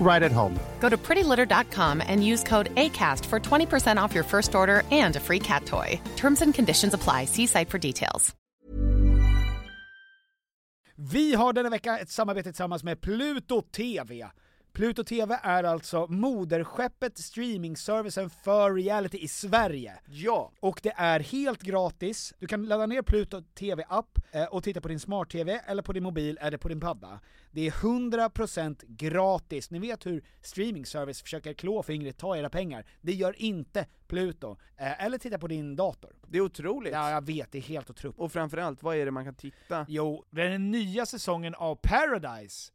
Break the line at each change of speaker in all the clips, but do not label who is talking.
right at home.
Go to prettylitter.com and use code ACAST for 20% off your first order and a free cat toy. Terms and conditions apply. See site for details.
Vi har denna vecka ett samarbete tillsammans med Pluto TV. Pluto TV är alltså moderskeppet streamingservicen för reality i Sverige.
Ja!
Och det är helt gratis. Du kan ladda ner Pluto TV-app eh, och titta på din smart-TV, eller på din mobil, eller på din padda. Det är 100% gratis. Ni vet hur streamingservice försöker klå fingret, ta era pengar. Det gör inte Pluto. Eh, eller titta på din dator.
Det är otroligt.
Ja, jag vet, det är helt otroligt.
Och framförallt, vad är det man kan titta?
Jo, den nya säsongen av Paradise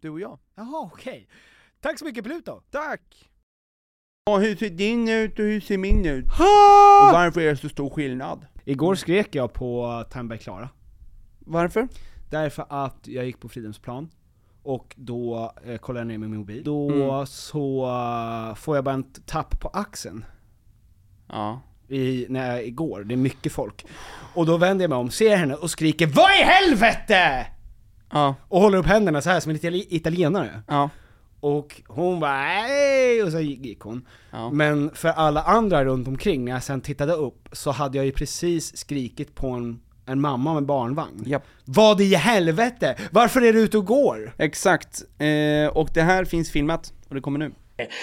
Du och jag.
Jaha, okej. Tack så mycket Pluto!
Tack! Och hur ser din ut och hur ser min ut? Och varför är det så stor skillnad?
Igår skrek jag på Tandberg Klara,
Varför?
därför att jag gick på Fridhemsplan, och då eh, kollade jag ner min mobil. Då så eh, får jag bara en tapp på axeln.
Ja.
i, när jag, igår, det är mycket folk. Och då vänder jag mig om, ser henne och skriker 'VAD I HELVETE?'
Ja.
Och håller upp händerna så här som en itali- italienare.
Ja.
Och hon bara "Hej!" och så gick hon.
Ja.
Men för alla andra runt omkring, när jag sen tittade upp, så hade jag ju precis skrikit på en, en mamma med barnvagn.
Japp.
Vad i helvete? Varför är du ute och går?
Exakt. Eh, och det här finns filmat, och det kommer nu.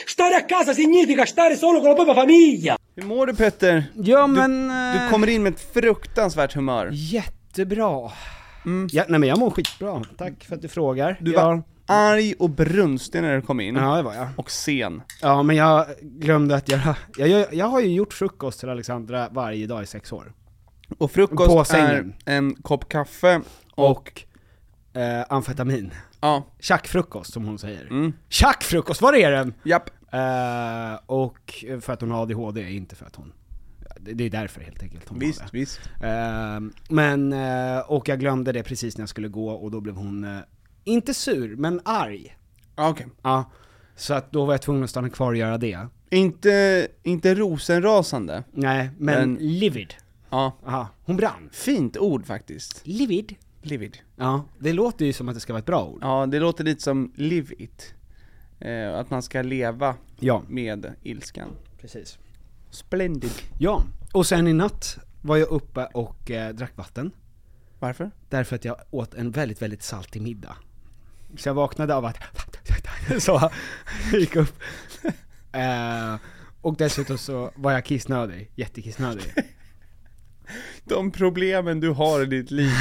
Stare a casa significa stare solo con la propria famiglia.
Hur mår du Petter?
Ja men... eh,
Du kommer in med ett fruktansvärt humör.
Jättebra. Mm. Ja, nej men jag mår skitbra. Tack för att du frågar.
Du
jag...
var arg och brunstig när du kom in.
Ja det var jag.
Och sen.
Ja, men jag glömde att göra... Jag, jag, jag har ju gjort frukost till Alexandra varje dag i sex år.
Och frukost
På sängen.
är en kopp kaffe och,
eh, amfetamin.
ja,
Tjackfrukost, som hon säger.
Mm.
Tjackfrukost, var är den?
japp.
Eh, och för att hon har ADHD, inte för att hon... Det, det är därför helt enkelt hon har
Visst,
det.
visst.
Eh, men, eh, och jag glömde det precis när jag skulle gå och då blev hon, eh, inte sur, men arg.
Ja, Okej.
Ja. Så att då var jag tvungen att stanna kvar och göra det.
Inte, inte rosenrasande.
Nej, men,
Men-
livid.
Ja.
Aha, hon brann.
Fint ord faktiskt.
Livid.
Live it.
Ja, det låter ju som att det ska vara ett bra ord.
Ja, det låter lite som live it. Eh, att man ska leva
Ja,
med ilskan.
precis.
Splendid.
Ja, och sen i natt var jag uppe och eh, drack vatten,
Varför?
därför att jag åt en väldigt, väldigt saltig middag. Så jag vaknade av att så gick upp. Eh, och dessutom så var jag kissnödig, jättekissnödig.
De problemen du har i ditt liv.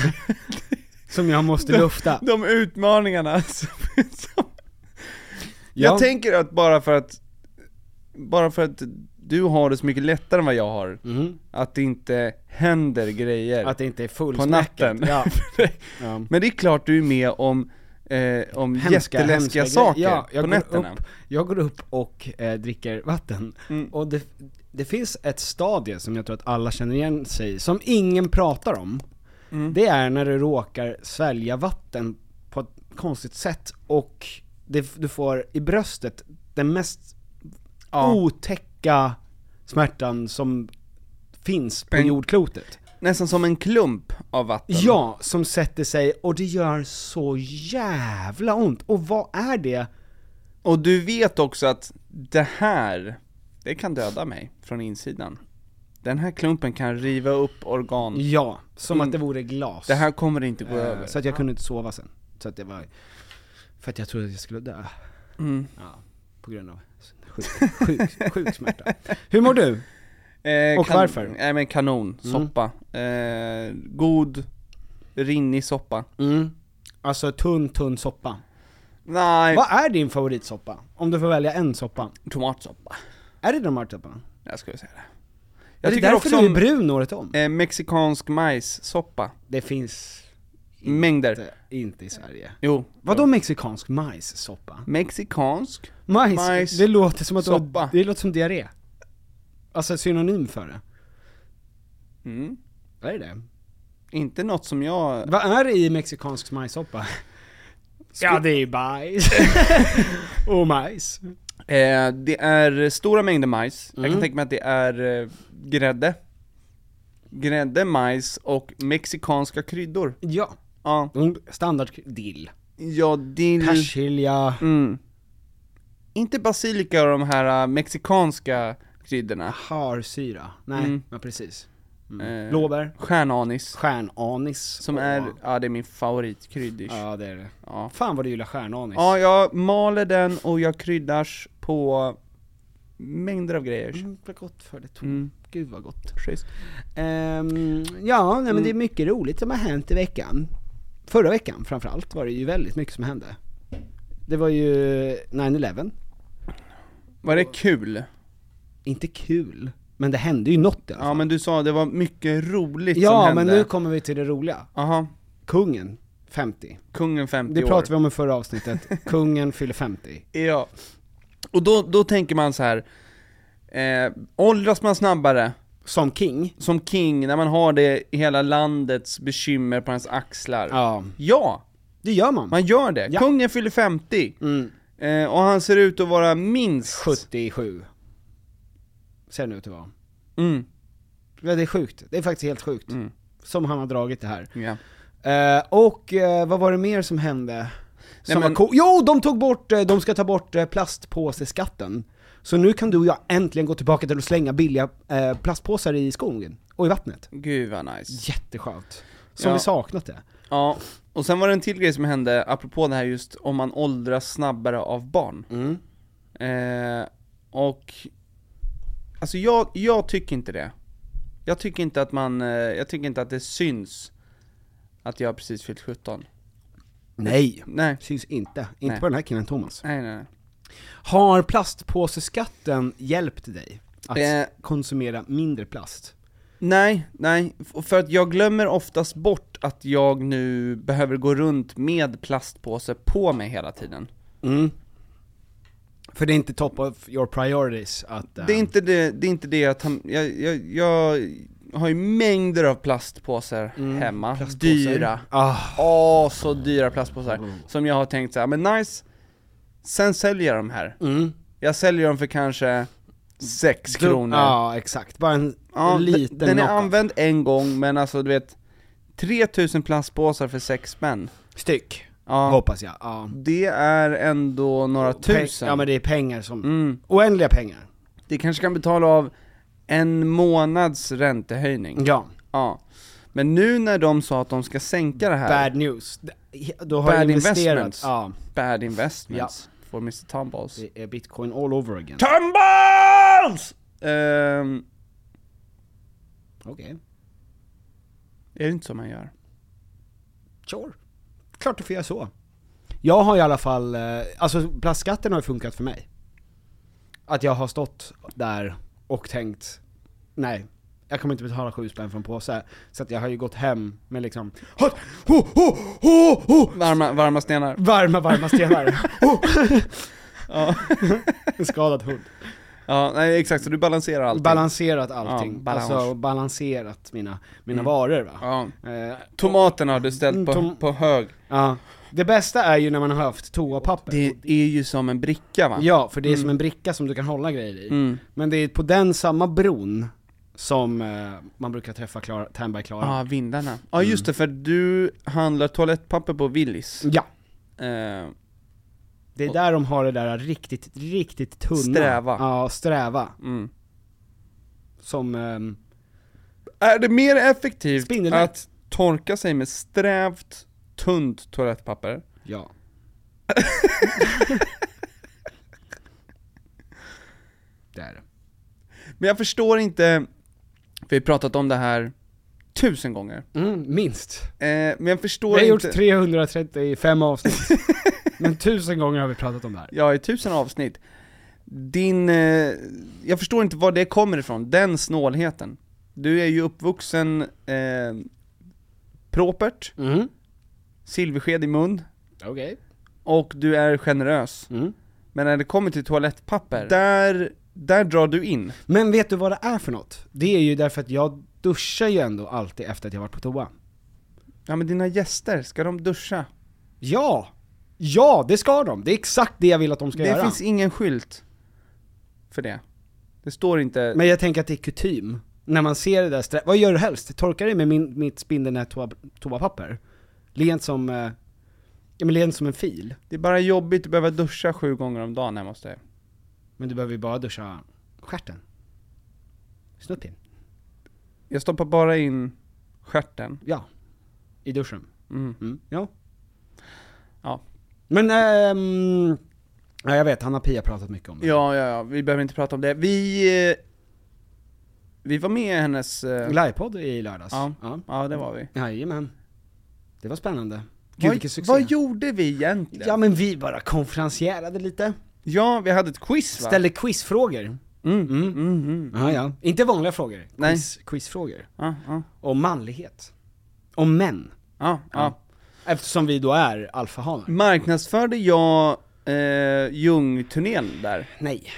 Som jag måste lufta.
De utmaningarna som,
Ja.
som... Jag tänker att bara för att, bara för att du har det så mycket lättare än vad jag har.
Mhm.
Att det inte händer grejer.
Att det inte är
på
fullsmäcket.
natten.
Ja. Ja.
Men det är klart du är med om, eh, om
Hemska,
jätteläskiga
hemska
saker
grejer. Ja, jag
på
går
nätterna. Mm.
Upp, jag går upp och eh, dricker vatten. Och det, det finns ett stadie som jag tror att alla känner igen sig i, som ingen pratar om.
Mm.
Det är när du råkar svälja vatten på ett konstigt sätt och det, du får i bröstet den mest otäcka smärtan som finns på
En-
jordklotet.
Nästan som en klump av vatten.
Ja, som sätter sig och det gör så jävla ont. Och vad är det?
Och du vet också att det här, det kan döda mig från insidan. Den här klumpen kan riva upp organ.
Ja, som att det vore glas.
Mm. Det här kommer inte gå
Eh,
över.
Så att jag kunde inte sova sen. Så att det var, för att jag trodde att jag skulle dö.
Mm.
Ja, på grund av sjuk, sjuk, sjuk smärta. Hur mår du?
Eh,
Och varför? Mm.
Nej men kanon, soppa. Eh, god, rinnig soppa.
Mm. Alltså tunn, tunn soppa.
Nej,
Vad är din favoritsoppa? Om du får välja en soppa.
tomatsoppa.
Är det tomatsoppa?
Jag skulle säga det.
Är
Jag
det
tycker
därför
också
du är
om
brun året om?
eh, mexikansk majssoppa.
Det finns
Mängder.
inte, inte i Sverige.
Jo.
Vadå mexikansk majssoppa?
Mexikansk?
Majs,
Majs,
det låter som att du har-
soppa.
det låter som diarré. Alltså synonym för det.
Mm.
Vad är det?
Inte något som jag...
Vad är det i mexikansk majssoppa? Ja det är bajs. och majs.
Eh, det är stora mängder majs. Jag
Mm.
kan tänka mig att det är eh, grädde. Grädde, majs och mexikanska kryddor.
Ja.
Ja,
Mm, Standard dill.
ja dill...
Persilja.
Mm. Inte basilika och de här eh, mexikanska kryddorna.
Harsyra. Nej,
Mm.
ja precis. Mm.
Eh,
Blåbär.
Stjärnanis.
Stjärnanis.
Som
Åh.
är, ja det är min favoritkryddish.
Ja det är det.
Ja.
Fan vad du gillar stjärnanis.
Ja, jag maler den och jag kryddars på mängder av grejer.
Mm, vad gott för det Tom.
Mm.
Gud vad gott.
Schysst.
Ehm, ja, nej, men
Mm.
det är mycket roligt som har hänt i veckan. Förra veckan framförallt var det ju väldigt mycket som hände. Det var ju 9-11.
Var det kul?
Inte kul, men det hände ju något i alla
Ja
fall.
men du sa det var mycket roligt som
Ja,
hände.
men nu kommer vi till det roliga.
Aha,
Kungen, 50.
kungen 50
Det
år.
pratade vi om i förra avsnittet. Kungen fyller 50.
Ja. Och då, då tänker man så här. Eh, åldras man snabbare
Som king.
som king när man har det hela landets bekymmer på hans axlar?
Ja,
Ja,
det gör man.
man gör det.
Ja. Mm.
Kungen fyller 50. Eh, och han ser ut att vara minst...
77. Ser den ut att vara.
Mm.
Ja, det är sjukt. Det är faktiskt helt sjukt. Som han har dragit det här.
Ja.
Eh, och eh, vad var det mer som hände? Som
Nej, men-
var cool. Jo, de tog bort, eh, de ska ta bort eh, plastpåseskatten. Så nu kan du och jag äntligen gå tillbaka till att slänga billiga eh, plastpåsar i skogen och i vattnet.
Gud vad nice.
Jätteskönt. Som
Ja.
vi saknat det.
Ja, och sen var det en till grej som hände, apropå det här just om man åldras snabbare av barn. Eh, och, alltså jag, jag tycker inte det. Jag tycker inte att man, eh, jag tycker inte att det syns att jag precis fyllt 17.
Nej.
Nej,
Syns inte. Inte
Nej.
på den här killen Thomas.
nej nej. nej.
Har plastpåseskatten hjälpt dig att
Eh.
konsumera mindre plast?
Nej, nej, F- för att jag glömmer oftast bort att jag nu behöver gå runt med plastpåse på mig hela tiden.
För det är inte top of your priorities att... eh,
Det är inte det, det, är inte det jag, tar, jag, jag, jag har ju mängder av plastpåsar hemma, dyra,
Mm. Ah. Mm.
åh så dyra plastpåsar, som jag har tänkt så här, men nice, sen säljer jag de här.
Mm.
Jag säljer dem för kanske 6 kronor.
Ja, exakt. Bara en
Ja,
en
d-
liten
den är
knockout.
använd en gång, men alltså du vet, 3000 plastpåsar för 6 spänn,
Styck,
Ja.
hoppas jag. Ja.
det är ändå några tusen. Mm.
Peng- Ja men det är pengar som, oändliga pengar.
Det kanske kan betala av en månads räntehöjning.
Ja.
Ja. Men nu när de sa att de ska sänka det här,
Bad news. D- Då har
Bad
jag investerat.
investments.
Ja.
bad investments, for Mr. Tumballs.
Det är bitcoin all over again.
Tumballs! Ehm,
Okej.
är det inte så man gör?
Sure. Klart du får göra så. Jag har i alla fall, eh, alltså plastskatten har ju funkat för mig. Att jag har stått där och tänkt, nej, jag kommer inte betala sju spänn för en påse. Så att jag har ju gått hem med liksom, hot, ho, ho, ho, ho,
Varma, varma stenar.
varma, varma stenar. Ho!
Ja.
En skadad hund.
ja, nej exakt, så du balanserar allting.
Balanserat allting.
Ja, balans. Mm.
Alltså, och balanserat mina, mina varor va.
ja.
Eh,
Tomaterna har du ställt på,
Mm, Tom-
på hög.
ja. Det bästa är ju när man har haft toapapper.
Det Mm. är ju som en bricka va?
Ja, för det är som en bricka som du kan hålla grejer i.
Mm.
Men det är på den samma bron som eh, man brukar träffa Klara, Ternberg Klara.
Ja, ah, vindarna. Ja
Mm.
ah, just det, för du handlar toalettpapper på Willys.
Ja,
Eh,
det är där de har det där riktigt, riktigt tunna.
Sträva.
Ja, sträva.
mm.
Som, ehm,
Är det mer effektivt
Spindelnät.
att torka sig med strävt, tunt toalettpapper?
ja. det är det.
Men jag förstår inte, vi har pratat om det här tusen gånger.
Mm, minst.
Eh, men jag
Vi
förstår
har gjort
inte...
335 avsnitt. Men tusen gånger har vi pratat om det här.
Ja, i tusen avsnitt. Din, eh, jag förstår inte var det kommer ifrån, den snålheten. Du är ju uppvuxen eh, propert,
Mm.
silversked i mun,
Okej.
och du är generös.
Mm.
Men när det kommer till toalettpapper, där, där drar du in.
Men vet du vad det är för något? Det är ju därför att jag duschar ju ändå alltid efter att jag varit på toa.
Ja men dina gäster, ska de duscha?
Ja! Ja, det ska de! Det är exakt det jag vill att de ska
det
göra.
finns ingen skylt för det. Det står inte...
Men jag tänker att det är kutym. När man ser det där strä- vad gör du helst? Torkar dig med min, mitt spindelnät toa, toapapper? Lent som, eh, ja men lent som en fil.
det är bara jobbigt att behöva duscha sju gånger om dagen hemma hos dig.
Men du behöver ju bara duscha stjärten. Snutten.
Jag stoppar bara in stjärten.
Ja. I duschen.
Mm.
Mm. Ja.
Ja.
Men, ehm, ja jag vet, han har Pia pratat mycket om det.
Ja, ja, ja, vi behöver inte prata om det. Vi... eh, Vi var med i hennes... eh,
Livepodd i lördags.
Ja. Ja, det var vi.
Jajamän. Det var spännande. Gud vilken
Vad,
succé.
vad gjorde vi egentligen?
Ja
Ja,
men vi bara konferensierade lite,
vi hade ett quiz va?
ställde quizfrågor.
Mm, mm, mm, mm.
Ja, ja. Inte vanliga frågor,
Nej.
Quiz, quizfrågor.
Ja, ja,
Om manlighet. Om män.
ja, ja.
Eftersom vi då är alfahanar.
Marknadsförde jag eh, Ljungturnén där?
Nej.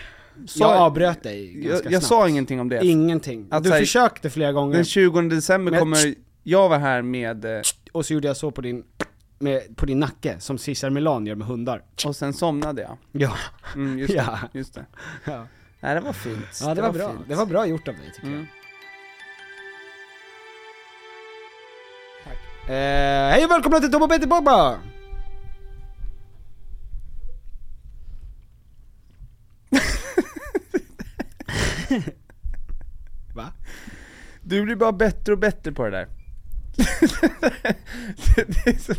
Sa-
jag avbröt dig ganska
Jag, jag
snabbt.
sa ingenting om det.
Ingenting.
Att
du
så här-
försökte flera gånger,
Den 20 december
Men-
kommer jag vara här med, eh,
och så gjorde jag så på din, med, på din nacke, som Cesar Milan gör med hundar.
och sen somnade jag.
Ja.
Mm, just,
Ja.
det, just det.
Ja,
Nej det var fint.
det, var, bra.
fint.
Det var bra gjort av dig tycker
Mm.
jag. Eh, hej och välkomna till Tom och Peter Bobba! Va?
Du blir bara bättre och bättre på det där. det är så...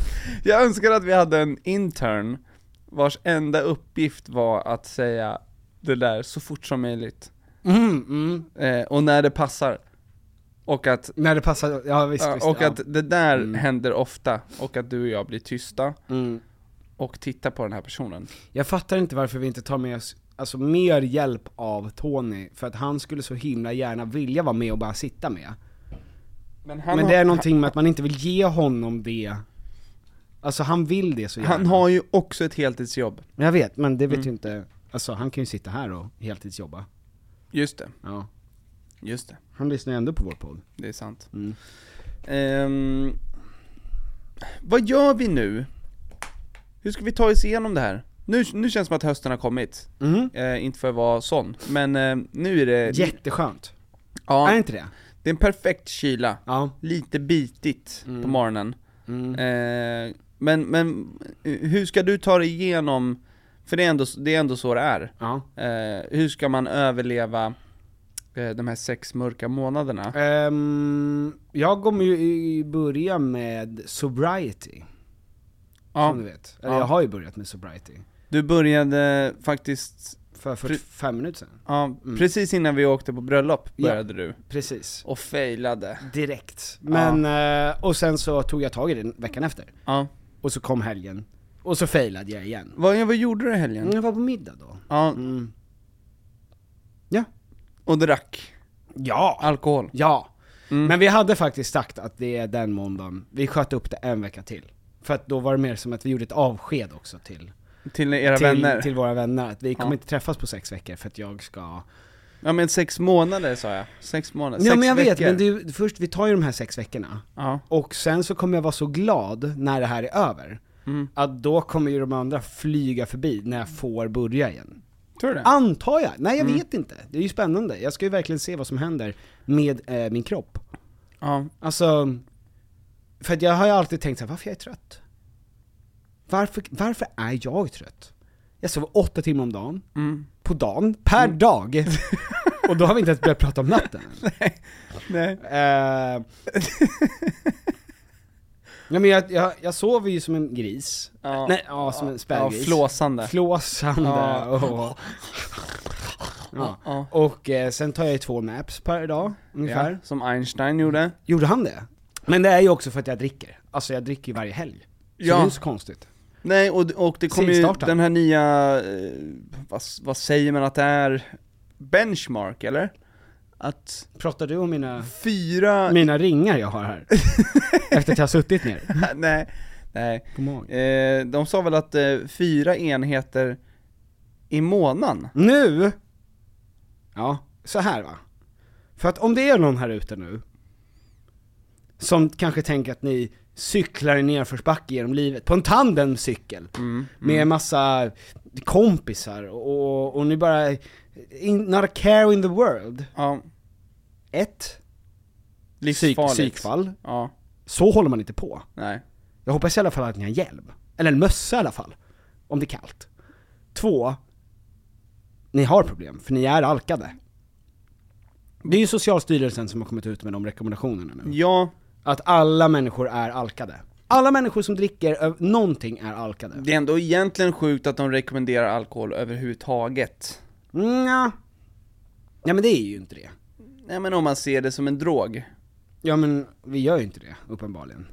Jag önskar att vi hade en intern vars enda uppgift var att säga det där så fort som möjligt.
Mm, mm.
Eh, och när det passar. Och att
När det passar, ja visst,
Ja,
visst
och
ja.
att det där
Mm.
händer ofta, och att du och jag blir tysta
mm.
och tittar på den här personen.
Jag fattar inte varför vi inte tar med oss, alltså mer hjälp av Tony, för att han skulle så himla gärna vilja vara med och bara sitta med.
Men, han,
Men
har,
det är någonting med att man inte vill ge honom det, alltså han vill det så gärna.
han har Mm. ju också ett heltidsjobb.
Jag vet, men det vet ju inte, alltså han kan ju sitta här och heltidsjobba.
Just det,
Ja.
just det.
Han lyssnar ju ändå på vår podd.
Det är sant.
Mm.
Ehm, vad gör vi nu? Hur ska vi ta oss igenom det här? Nu, nu känns det som att hösten har kommit.
Mm.
Eh, inte för att vara sån, men eh, nu är det...
Jätteskönt. Är det
ja,
inte det?
det är en perfekt kyla.
Ja. Mm.
Lite bitigt på morgonen. Eh, men, men eh, hur ska du ta dig igenom, för det är ändå, det är ändå så det är.
Ja.
Eh, hur ska man överleva eh, de här sex mörka månaderna?
Ehm, jag kommer ju i- börja med sobriety,
Ja,
som du vet. Eller
Ja.
jag har ju börjat med sobriety.
du började faktiskt,
För 45 minuter sedan.
ja, precis innan vi åkte på bröllop
Mm. Ja.
började du.
Precis.
Och failade.
Direkt. Men, eh, och sen så tog jag tag i det veckan efter.
Ja.
Och så kom helgen. Och så failade jag
Mm.
igen. Mm.
Vad, vad gjorde du i helgen?
Jag var på middag då.
Ja,
Mm. Ja.
och Och drack
Ja!
alkohol.
Ja.
Mm.
Men vi hade faktiskt sagt att det är den måndagen, vi sköt upp det en vecka till. För att då var det mer som att vi gjorde ett avsked också till,
Till era
till,
vänner.
till våra vänner. Att vi kommer
Ja.
inte träffas på sex veckor för att jag ska...
Ja men sex månader sa jag. Sex månader.
Ja
sex
men jag vet,
veckor.
men du, först, vi tar ju de här sex veckorna.
Ja.
Och sen så kommer jag vara så glad när det här är över,
Mm.
att då kommer ju de andra flyga förbi när jag får börja igen.
Tror du det?
Antar jag, nej
Mm.
jag vet inte. Det är ju spännande, jag ska ju verkligen se vad som händer med eh, min kropp.
Ja.
Alltså, för att jag har ju alltid tänkt så här, varför jag är trött? Varför, varför är jag trött? Jag sover åtta timmar om dagen,
Mm.
på dagen, per dag. Och då har vi inte ens börjat prata om natten.
Nej.
Eh, Nej men jag, jag, jag sover ju som en gris.
Ja.
Nej, ja som en spädgris.
Ja, flåsande.
Flåsande
Ja.
och... Ja.
Ja.
Och eh, sen tar jag ju två naps per dag, ungefär.
Ja, som Einstein gjorde.
Gjorde han det? Men det är ju också för att jag dricker. Alltså jag dricker ju varje helg. Så
Ja.
det är ju så konstigt.
Nej, och, och det kommer ju
Segstartad.
den här nya, eh, vad, vad säger man att det är, benchmark eller? Att
Pratar du om mina,
fyra,
mina ringar jag har här? Efter att jag har suttit ner
nej, nej.
på magen.
Eh, de sa väl att eh, fyra enheter i månaden?
Nu! Ja, så här va. För att om det är någon här ute nu, som kanske tänker att ni cyklar i nedförsbacke genom livet, på en tandemcykel,
Mm,
med massa kompisar och, och ni bara, in, not a care in the world.
Ja,
Ett, psyk,
livsfarligt.
psykfall.
Ja,
Så håller man inte på.
nej.
Jag hoppas i alla fall att ni har hjälm. Eller en mössa i alla fall. Om det är kallt. Två, ni har problem, för ni är alkade. Det är ju Socialstyrelsen som har kommit ut med de rekommendationerna nu.
Ja,
Att alla människor är alkade. Alla människor som dricker ö- någonting är alkade.
det är ändå egentligen sjukt att de rekommenderar alkohol överhuvudtaget.
Nja. Ja men det är ju inte det.
Nej men om man ser det som en drog.
Ja men vi gör ju inte det, uppenbarligen.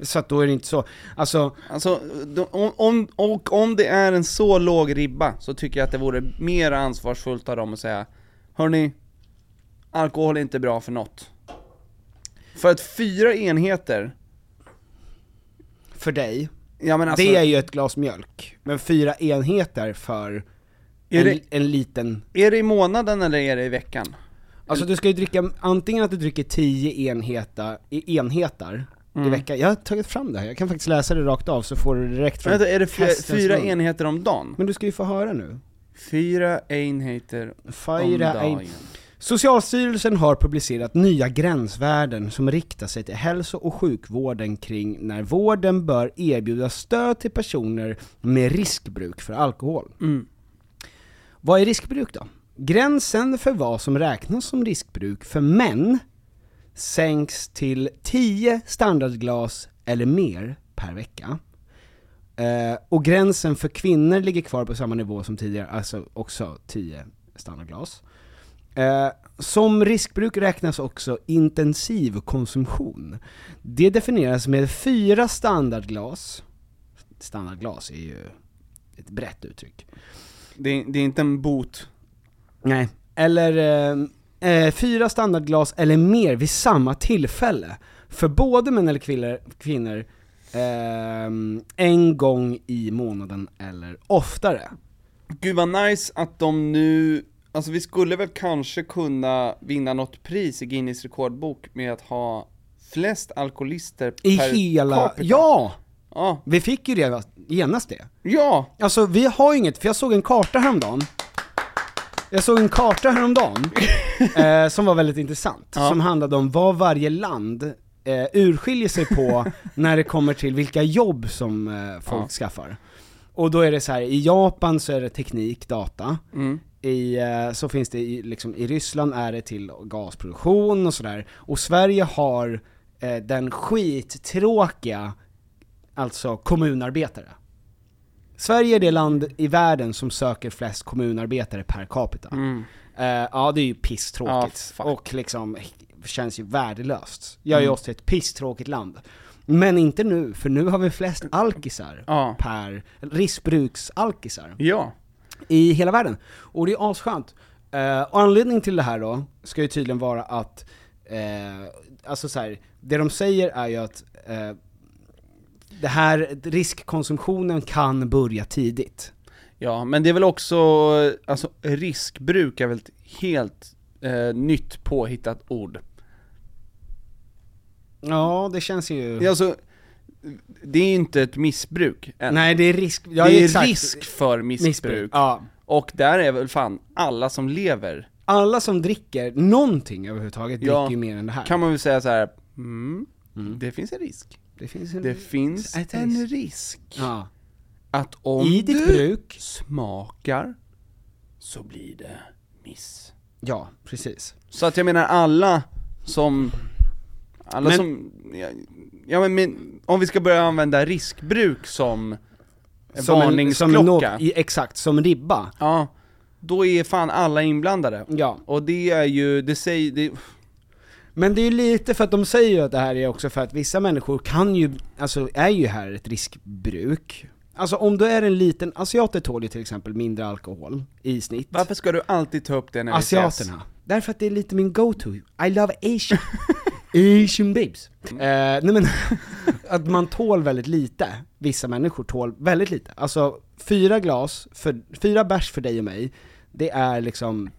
Så att då är det inte så, alltså
Alltså, de, om, om, och om det är en så låg ribba så tycker jag att det vore mer ansvarsfullt av dem att säga Hörni, alkohol är inte bra för något. För att fyra enheter,
för dig,
ja men alltså,
det är ju ett glas mjölk. Men fyra enheter för
Är
en,
det-
en liten...
är det i månaden eller är det i veckan?
Alltså du ska ju dricka, antingen att du dricker 10 enheter, i- enheter
Mm.
i veckan. Jag har tagit fram det här, jag kan faktiskt läsa det rakt av så får du det direkt från
Vänta, är det fyra,
hästens
fyra
mun.
enheter om dagen?
Men du ska ju få höra nu.
Fyra enheter om
Fyra en-
dagen.
Socialstyrelsen har publicerat nya gränsvärden som riktar sig till hälso och sjukvården kring när vården bör erbjuda stöd till personer med riskbruk för alkohol.
Mm.
Vad är riskbruk då? Gränsen för vad som räknas som riskbruk för män sänks till 10 standardglas eller mer per vecka. Eh, och gränsen för kvinnor ligger kvar på samma nivå som tidigare, alltså också 10 standardglas. Eh, som riskbruk räknas också intensiv konsumtion. Det definieras med fyra standardglas, standardglas är ju ett brett uttryck.
Det, är- det är inte en bot.
Nej. Eller eh, eh, fyra standardglas eller mer vid samma tillfälle. För både män eller kvinnor, kvinnor ehm, en gång i månaden eller oftare.
Gud vad nice att de nu, alltså vi skulle väl kanske kunna vinna något pris i Guinness rekordbok med att ha flest alkoholister
I
per
hela...
capita.
Ja!
Ja!
Vi fick ju redan, genast det.
Ja!
Alltså vi har ju inget, för jag såg en karta häromdagen Jag såg en karta häromdagen, eh, som var väldigt intressant, som handlade om vad varje land eh, urskiljer sig på när det kommer till vilka jobb som eh, folk skaffar Och då är det så här, i Japan så är det teknik, data I, eh, så finns det i, liksom, i Ryssland är det till gasproduktion och sådär, och Sverige har eh, den skittråkiga, alltså kommunarbetare Sverige är det land i världen som söker flest kommunarbetare per capita. Eh, ja det är ju pisstråkigt,
Mm. Ja, fuck. Mm.
och liksom eh, känns ju värdelöst. Gör ju oss till ett pisstråkigt land. Men inte nu, för nu har vi flest alkisar
Ja.
per, riskbruksalkisar
Ja!
i hela världen. Och det är asskönt. Eh, och anledningen till det här då, ska ju tydligen vara att, eh, alltså så här, det de säger är ju att eh, det här, riskkonsumtionen kan börja tidigt.
Ja, men det är väl också, alltså riskbruk är väl ett helt eh, nytt påhittat ord.
Ja, det känns ju...
Det är Alltså, det är inte ett missbruk än.
Nej det är risk, ja,
det är
exakt.
risk för missbruk.
Ja.
Och där är väl fan alla som lever,
Alla som dricker någonting överhuvudtaget
Ja.
dricker ju mer än det här.
kan man väl säga så här. Mm, det finns en risk.
Det finns en
Det finns
Mm. Ett
en
risk.
risk
Ja.
att om
I ditt
du
bruk.
smakar så blir det miss.
ja, precis.
Så att jag menar alla som, alla
Men-
som, ja, ja men, men om vi ska börja använda riskbruk som, en varningsklocka.
En, som en, no- i- exakt, som ribba.
ja, då är fan alla inblandade.
Ja.
Och det är ju, det säger, det,
Men det är ju lite för att de säger ju att det här är också för att vissa människor kan ju, alltså är ju här ett riskbruk. Alltså om du är en liten, asiater tål ju till exempel mindre alkohol i snitt.
varför ska du alltid ta upp det när vi ses?
Asiaterna. Därför att det är lite min go-to. I love Asian. Asian babes.
Mm.
Eh, nej men, att man tål väldigt lite. Vissa människor tål väldigt lite. Alltså, fyra glas, för, fyra bärs för dig och mig, det är liksom,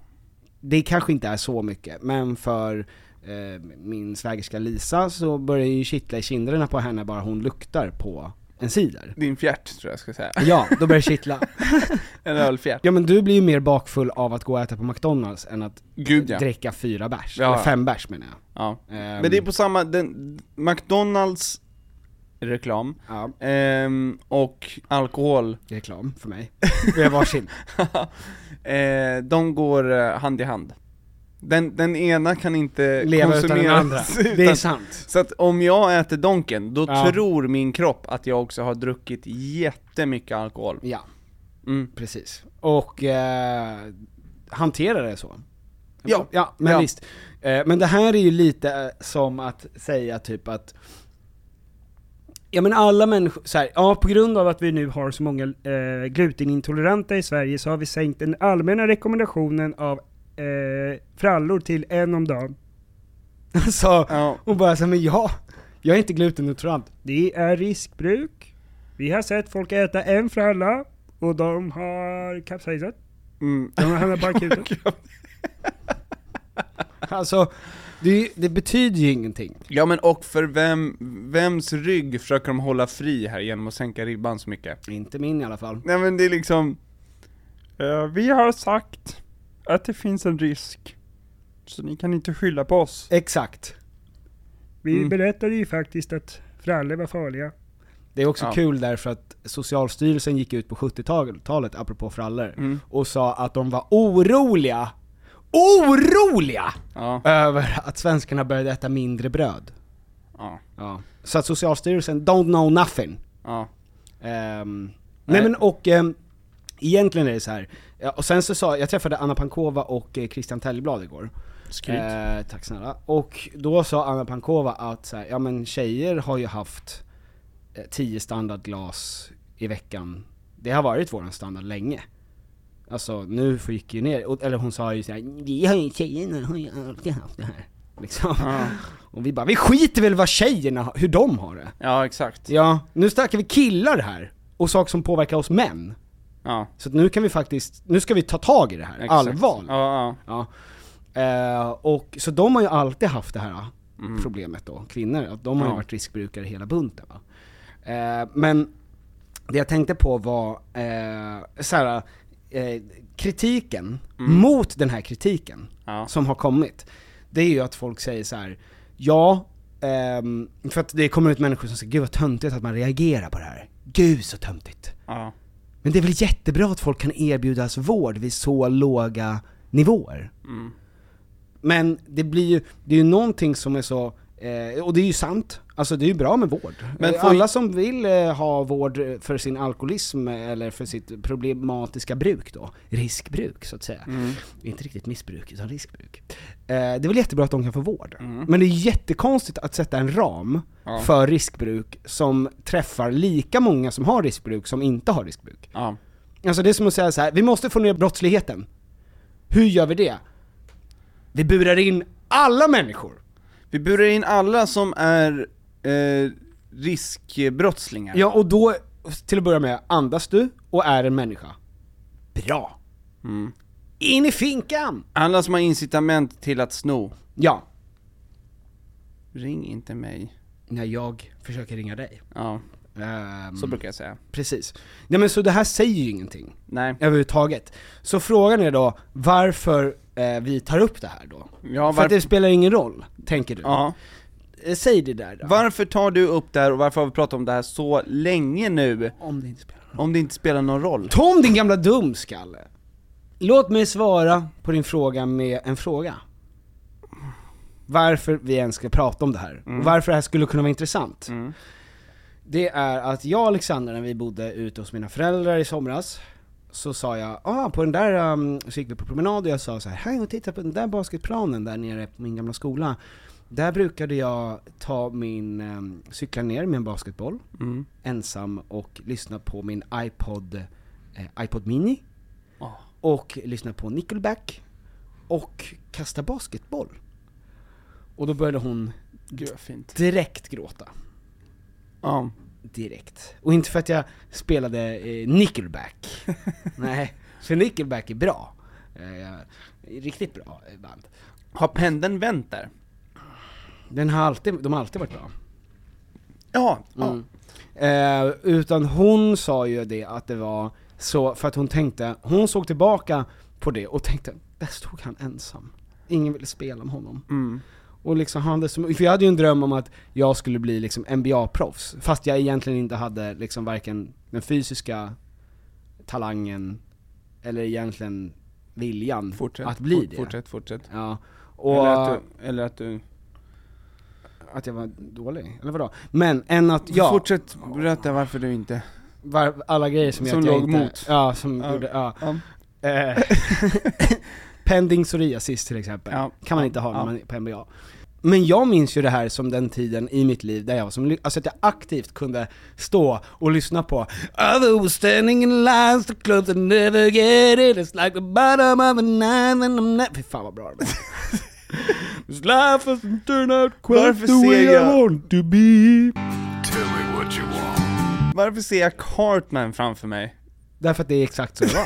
det kanske inte är så mycket, men för eh, min svägerska Lisa så börjar ju kittla i kinderna på henne bara hon luktar på en cider.
Din fjärt tror jag ska säga.
Ja, då börjar det kittla.
En ölfjärt.
Ja men du blir ju mer bakfull av att gå och äta på McDonalds än att
Gud ja.
dricka fyra bärs,
Ja.
eller fem bärs menar jag.
ja.
Ehm.
Men det är på samma, den, McDonalds reklam,
Ja,
ehm, och alkohol,
reklam för mig. Vi har varsin.
eh, de går eh, hand i hand. Den, den ena kan inte
Leva utan
konsumeras
den andra. Det är
utan-
sant.
Så att om jag äter Donken, då
Ja.
tror min kropp att jag också har druckit jättemycket alkohol.
Ja,
Mm.
precis. Och eh, hantera det så.
Ja.
Ja, men
Ja.
visst. Eh, men det här är ju lite eh, som att säga typ att Ja men alla människor, så här, ja på grund av att vi nu har så många eh, glutenintoleranta i Sverige så har vi sänkt den allmänna rekommendationen av eh, frallor till en om dagen. Alltså,
Ja.
och bara såhär, men ja, jag är inte glutenintolerant. Det är riskbruk. Vi har sett folk äta en fralla och de har kapsejsat.
Mm.
De har hamnat på akuten. alltså, det, är ju- det betyder ju ingenting.
Ja men och för vem, vems rygg försöker de hålla fri här genom att sänka ribban så mycket?
Inte min i alla fall.
Nej men det är liksom... eh, vi har sagt att det finns en risk. Så ni kan inte skylla på oss.
Eh. Exakt.
Vi
Mm.
berättade ju faktiskt att frallor var farliga.
Det är också
Ja.
kul därför att Socialstyrelsen gick ut på 70-talet, apropå frallor,
Mm.
och sa att de var oroliga, OROLIga!
Ja.
Över att svenskarna började äta mindre bröd.
Ja.
Så att Socialstyrelsen, don't know nothing.
Ja.
Ehm, nej men och, ehm, egentligen är det så här. Ja, och sen så sa, jag träffade Anna Pankova och eh, Christian Tellblad igår.
Skryt.
Eh, tack snälla. Och då sa Anna Pankova att så här, ja men tjejer har ju haft eh, 10 standardglas i veckan. Det har varit våran standard länge. Alltså nu gick ju ner, och- eller hon sa ju såhär, vi har ju tjejerna har ju alltid haft det här. Liksom. Och vi bara, vi skiter väl vad tjejerna, har- hur de har det.
Ja exakt.
Ja, nu snackar vi killar här, och saker som påverkar oss män.
Ja.
Så att nu kan vi faktiskt, nu ska vi ta tag i det här,
Exakt.
allvarligt.
Ja, ja.
Ja. Eh, och, så de har ju alltid haft det här ah, problemet då, kvinnor, att de har ju
Mm. Ja.
varit riskbrukare hela bunten va. Eh, men det jag tänkte på var eh, så här, eh, kritiken mot den här kritiken
Mm. Ja.
som har kommit. Det är ju att folk säger så här: ja, ehm, för att det kommer ut människor som säger 'Gud vad töntigt att man reagerar på det här' Gud så töntigt!
ja.
Men det är väl jättebra att folk kan erbjudas vård vid så låga nivåer? Men det blir ju, det är ju någonting som är så, eh, och det är ju sant, alltså det är ju bra med vård.
Men
Eh,
får-
Alla som vill eh, ha vård eh, för sin alkoholism eh, eller för sitt problematiska bruk då, riskbruk så att säga.
Mm.
Inte riktigt missbruk, utan riskbruk. Eh, det är väl jättebra att de kan få vård. Men det är jättekonstigt att sätta en ram
Mm. Ja.
för riskbruk som träffar lika många som har riskbruk som inte har riskbruk.
ja.
Alltså det är som att säga så här: vi måste få ner brottsligheten. Hur gör vi det? Vi burar in alla människor!
Vi burar in alla som är eh, riskbrottslingar.
Ja, och då, till att börja med, andas du och är en människa. Bra!
Mm.
In i finkan!
Alla som har incitament till att sno.
Ja.
Ring inte mig.
När jag försöker ringa dig.
Ja,
Ehm,
så brukar jag säga.
Precis. Nej men så det här säger ju ingenting.
Nej.
Överhuvudtaget. Så frågan är då, varför eh, vi tar upp det här då?
Ja,
För
var...
att det spelar ingen roll, tänker du?
ja.
Eh, Säg det där då.
Varför tar du upp det här och varför har vi pratat om det här så länge nu?
Om det inte spelar någon roll.
Om det inte spelar någon roll.
Tom din gamla dumskalle! Låt mig svara på din fråga med en fråga. Varför vi ens ska prata om det här, och varför det här skulle kunna vara intressant. Det är att jag och Alexandra när vi bodde ute hos mina föräldrar i somras, så sa jag, ah på den där, um, så gick vi på promenad och jag sa så här, hej och titta på den där basketplanen där nere på min gamla skola. Där brukade jag ta min, um, cykla ner med en basketboll, ensam och lyssna på min iPod, eh, iPod Mini, och lyssna på Nickelback, och kasta basketboll. Och då började hon
Gud vad fint.
direkt gråta.
Ja.
Direkt. Och inte för att jag spelade eh, Nickelback. Nej, för Nickelback är bra. Eh, riktigt bra eh, band.
Har pendeln vänt där?
Den har alltid, de har alltid varit bra.
Ja. ja.
Mm. Eh, utan hon sa ju det att det var så, för att hon tänkte, hon såg tillbaka på det och tänkte, där stod han ensam. Ingen ville spela med honom.
Mm.
Och liksom han hade som, för jag hade ju en dröm om att jag skulle bli liksom NBA-proffs, fast jag egentligen inte hade liksom varken den fysiska talangen, eller egentligen viljan
Fortsätt.
att bli
Fort-
det.
Fortsätt, fortsätt.
Ja. Och
Eller att du... Eller att du
att jag var dålig, eller vadå? Men, än att jag...
Fortsätt berätta varför du inte...
var, alla grejer som,
Som
gör att jag
låg
inte,
mot.
Ja, som
Ja.
gjorde, ja.
Ja.
Eh, Pending psoriasis till exempel,
Ja.
kan man inte ha när
Ja.
man är på NBA. Men jag minns ju det här som den tiden i mitt liv där jag var som, ly- alltså att jag aktivt kunde stå och lyssna på I was standing in lines to clubs and never get it, it's like the bottom of the nine and I'm not... Fy fan vad bra det var. This life doesn't turn out quite
Varför
the way
ser jag-
I want to be
Varför ser jag Cartman framför mig?
Därför att det är exakt så det var.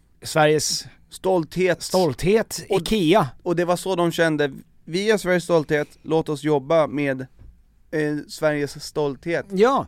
Sveriges
Stolthet.
stolthet, IKEA.
Och det var så de kände, vi är Sveriges stolthet, låt oss jobba med eh, Sveriges stolthet.
Ja,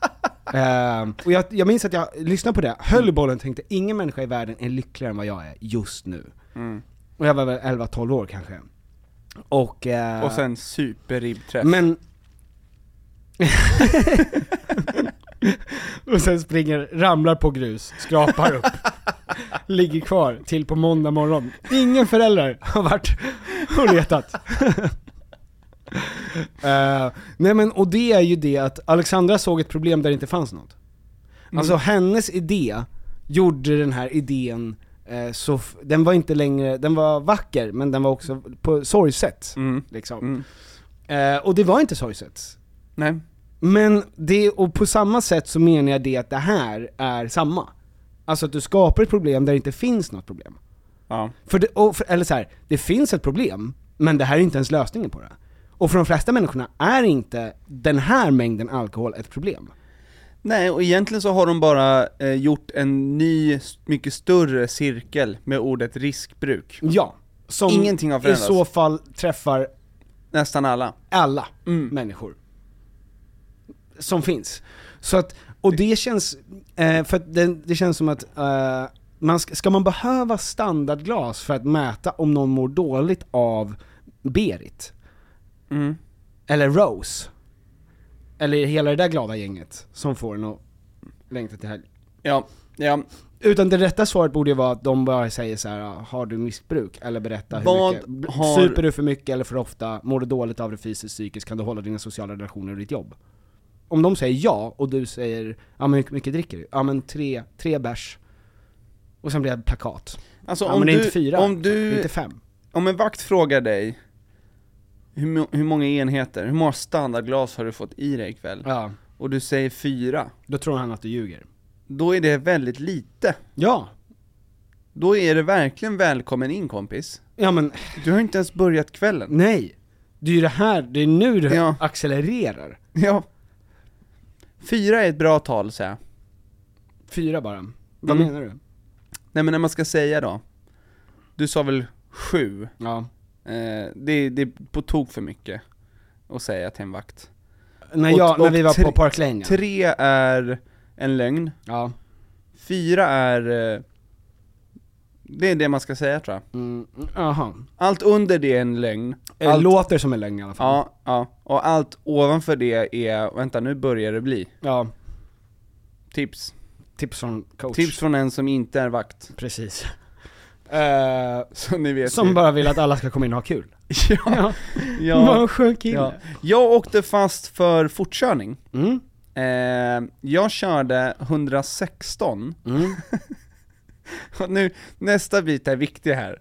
Ehm, och jag, jag minns att jag lyssnade på det, höll i bollen och tänkte ingen människa i världen är lyckligare än vad jag är just nu.
Mm.
Och jag var väl 11-12 år kanske. Och, eh,
Och sen superribbträff.
Men... och sen springer, ramlar på grus, skrapar upp, ligger kvar till på måndag morgon. Ingen förälder har varit och letat. Eh, nej men, och det är ju det att Alexandra såg ett problem där det inte fanns något. Alltså hennes idé gjorde den här idén eh, så, f- den var inte längre, den var vacker men den var också på sorgset. Liksom. Eh, och det var inte sorgset.
Nej.
Men det, och på samma sätt så menar jag det att det här är samma. Alltså att du skapar ett problem där det inte finns något problem.
Ja.
För det, och för, eller så här, det finns ett problem, men det här är inte ens lösningen på det. Och för de flesta människorna är inte den här mängden alkohol ett problem.
Nej, och egentligen så har de bara eh, gjort en ny, s- mycket större cirkel med ordet riskbruk.
Ja. Som
Ingenting har
i
förändrats.
så fall träffar
Nästan alla.
alla människor. Som finns. Så att, och det känns, eh, för att det, det känns som att, eh, man ska, ska man behöva standardglas för att mäta om någon mår dåligt av Berit? Eller Rose? Eller hela det där glada gänget som får en att längta till helg?
Ja, ja.
Utan det rätta svaret borde ju vara att de bara säger så här: "Ah, har du missbruk? Eller berätta hur
Vad
mycket,
har-
super du för mycket eller för ofta, mår du dåligt av det fysiskt, psykiskt, kan du hålla dina sociala relationer och ditt jobb? Om de säger ja, och du säger, ja men hur mycket dricker du? Ja men tre, tre bärs. Och sen blir det plakat.
Alltså
ja
om
men det är
du-
inte fyra,
om du-
det är inte fem.
Om en vakt frågar dig, hur, mo- hur många enheter, hur många standardglas har du fått i dig ikväll?
Ja,
Och du säger fyra.
då tror han att du ljuger.
Då är det väldigt lite.
Ja!
Då är det verkligen välkommen in kompis.
Ja men,
Du har inte ens börjat kvällen.
nej. Det är ju det här, det är nu det
Ja.
accelererar.
Ja. Fyra är ett bra tal säger jag.
Fyra bara. Vad
Mm.
menar du?
Nej men när man ska säga då. Du sa väl sju?
Ja.
Eh, det, det är på tok för mycket att säga till en vakt.
När,
Och-
jag, när
och
vi var
tre-
på Park Lane ja.
Tre är en lögn.
ja.
Fyra är... eh, Det är det man ska säga tror jag.
Mm, aha.
Allt under det är en lögn.
Det
Allt,
Eh, låter som en lögn i alla fall.
ja, ja. Och allt ovanför det är, vänta nu börjar det bli.
Ja,
Tips.
tips från coach.
Tips från en som inte är vakt.
Precis. Eh,
Så ni vet
som
ju.
bara vill att alla ska komma in och ha kul.
ja,
Vad
ja,
en skön kille.
ja. Jag åkte fast för fortkörning.
Mm.
Eh, jag körde 116.
Mm.
Och nu, nästa bit är viktig här.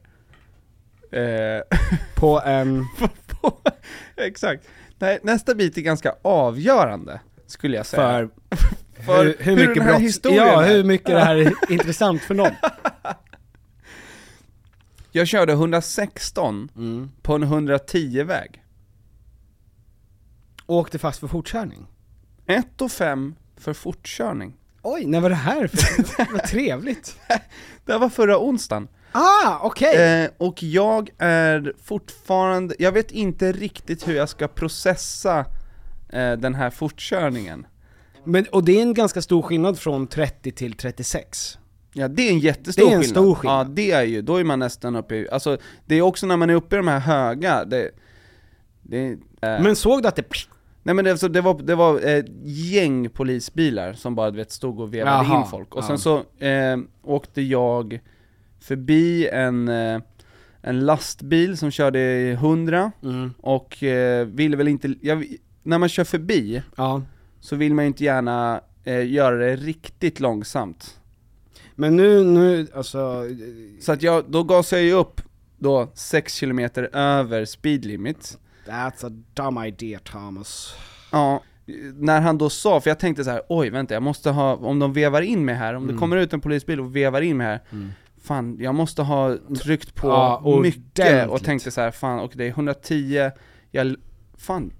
Eh,
På ehm, en...
på- exakt. Nej, nästa bit är ganska avgörande, skulle jag säga.
För...
För hur den här historien
Ja,
är.
hur mycket det här är intressant för någon.
Jag körde 116
Mm.
på en 110-väg.
Åkte fast för fortkörning.
1 och 5 för fortkörning.
Oj, när var det här för? Vad trevligt.
Det här var förra onsdagen.
Ah, okej!
Eh, och jag är fortfarande, jag vet inte riktigt hur jag ska processa eh, den här fortkörningen.
Men, och det är en ganska stor skillnad från 30 till 36.
Ja det är en jättestor
Det är en stor skillnad.
Ja det är ju, då är man nästan uppe i, alltså det är också när man är uppe i de här höga, det, det eh,
Men såg du att det...
Nej men det, alltså, det var, det var ett gäng polisbilar som bara du vet, stod och vevade
Jaha,
in folk, och sen
ja.
så eh, åkte jag förbi en, eh, en lastbil som körde
Mm.
i 100, och eh, ville väl inte, jag, när man kör förbi
Ja.
så vill man ju inte gärna eh, göra det riktigt långsamt.
Men nu, nu, alltså...
Så att jag, då gasar jag ju upp då 6 km över speed limit.
That's a dumb idea Thomas.
Ja, när han då sa, för jag tänkte så här: oj vänta jag måste ha, om de vevar in mig här, om det
Mm.
kommer ut en polisbil och vevar in mig här, fan jag måste ha tryckt på
Ja,
mycket och
ordentligt.
tänkte så här, fan och det är 110, jag, fan,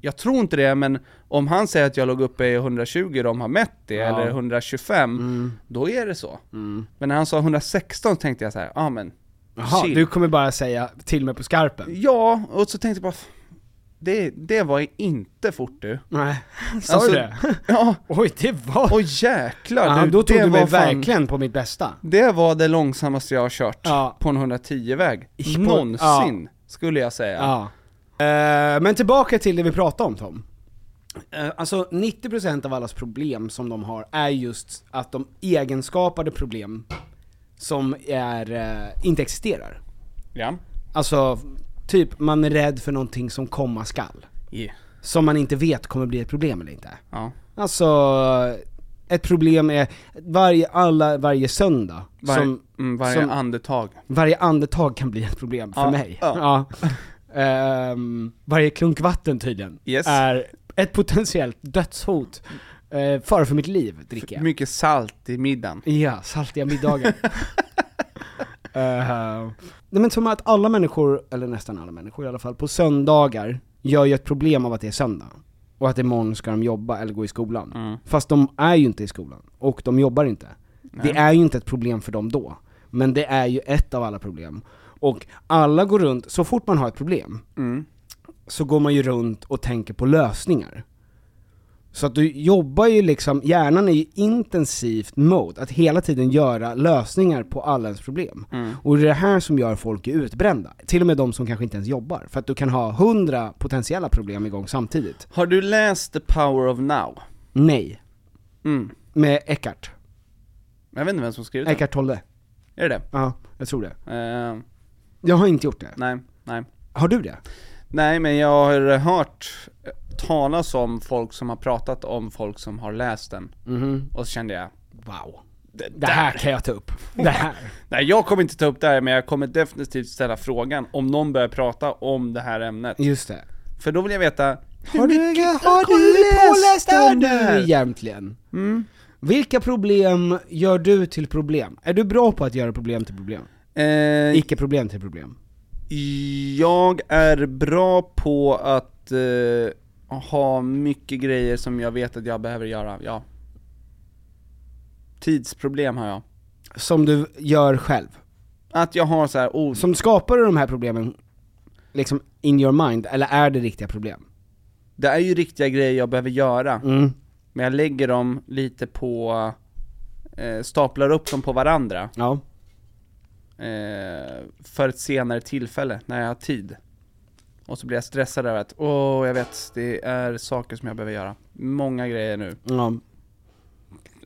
jag tror inte det men om han säger att jag låg uppe i 120 de har mätt det,
Ja. Mm.
eller 125, då är det så. Men när han sa 116 tänkte jag så här, ja ah, men,
Jaha,
chill."
du kommer bara säga till mig på skarpen?
Ja, och så tänkte jag bara, "F- det, det var inte fort du.
Nej, sa
Alltså,
du det?
Ja.
Oj, det var...
Oj jäklar
Ja,
du,
då tog
det
du mig
var fan-
verkligen på mitt bästa.
Det var det långsammaste jag har kört
Ja.
på en 110-väg.
I- på-
Någonsin, skulle jag säga.
Ja. Eh, men tillbaka till det vi pratade om Tom. Uh, alltså 90% av allas problem som de har är just att de egenskapade problem som är, eh, inte existerar.
Ja.
Alltså, typ man är rädd för någonting som komma skall.
Yeah.
Som man inte vet kommer bli ett problem eller inte.
Ja.
Alltså, ett problem är varje, alla, varje söndag.
Var,
som,
mm, varje
som-
andetag.
varje andetag kan bli ett problem för
Ja,
mig.
ja.
Ehm, varje klunk vatten tydligen
Yes.
är ett potentiellt dödshot. Uh, fara för mitt liv dricker jag.
Mycket salt i middagen.
Ja, saltiga middagar. Eh, nej men som att alla människor, eller nästan alla människor i alla fall, på söndagar gör ju ett problem av att det är söndag. Och att imorgon ska de jobba eller gå i skolan. Fast de är ju inte i skolan, och de jobbar inte. Det är ju inte ett problem för dem då. Men det är ju ett av alla problem. Och alla går runt, så fort man har ett problem,
Mm.
så går man ju runt och tänker på lösningar. Så att du jobbar ju liksom, hjärnan är ju intensivt mode, att hela tiden göra lösningar på alla ens problem. Och det är det här som gör folk utbrända, till och med de som kanske inte ens jobbar. För att du kan ha hundra potentiella problem igång samtidigt.
Har du läst The Power of Now?
Nej.
Mm.
Med Eckart.
Jag vet inte vem som skrivit den.
Eckart Tolle.
Är det det?
Ja, jag tror det.
Eh,
Jag har inte gjort det.
nej, nej.
Har du det?
Nej, men jag har hört talas om folk som har pratat om folk som har läst den. Och så kände jag,
Wow.
det,
Det här kan jag ta upp. Det här.
Nej jag kommer inte ta upp det här men jag kommer definitivt ställa frågan om någon börjar prata om det här ämnet.
Just det.
För då vill jag veta,
Har du, har
har
du
du
läst
läst
om
om det?
nu egentligen? Vilka problem gör du till problem? Är du bra på att göra problem till problem?
eh,
Icke problem till problem?
jag är bra på att eh, ha mycket grejer som jag vet att jag behöver göra, ja. Tidsproblem har jag.
Som du gör själv?
Att jag har så här, oh,
Som skapar du de här problemen liksom in your mind, eller är det riktiga problem?
det är ju riktiga grejer jag behöver göra.
Mm.
Men jag lägger dem lite på, eh, staplar upp dem på varandra.
Ja.
eh, för ett senare tillfälle, när jag har tid. Och så blir jag stressad över att, åh jag vet, det är saker som jag behöver göra. Många grejer nu.
ja.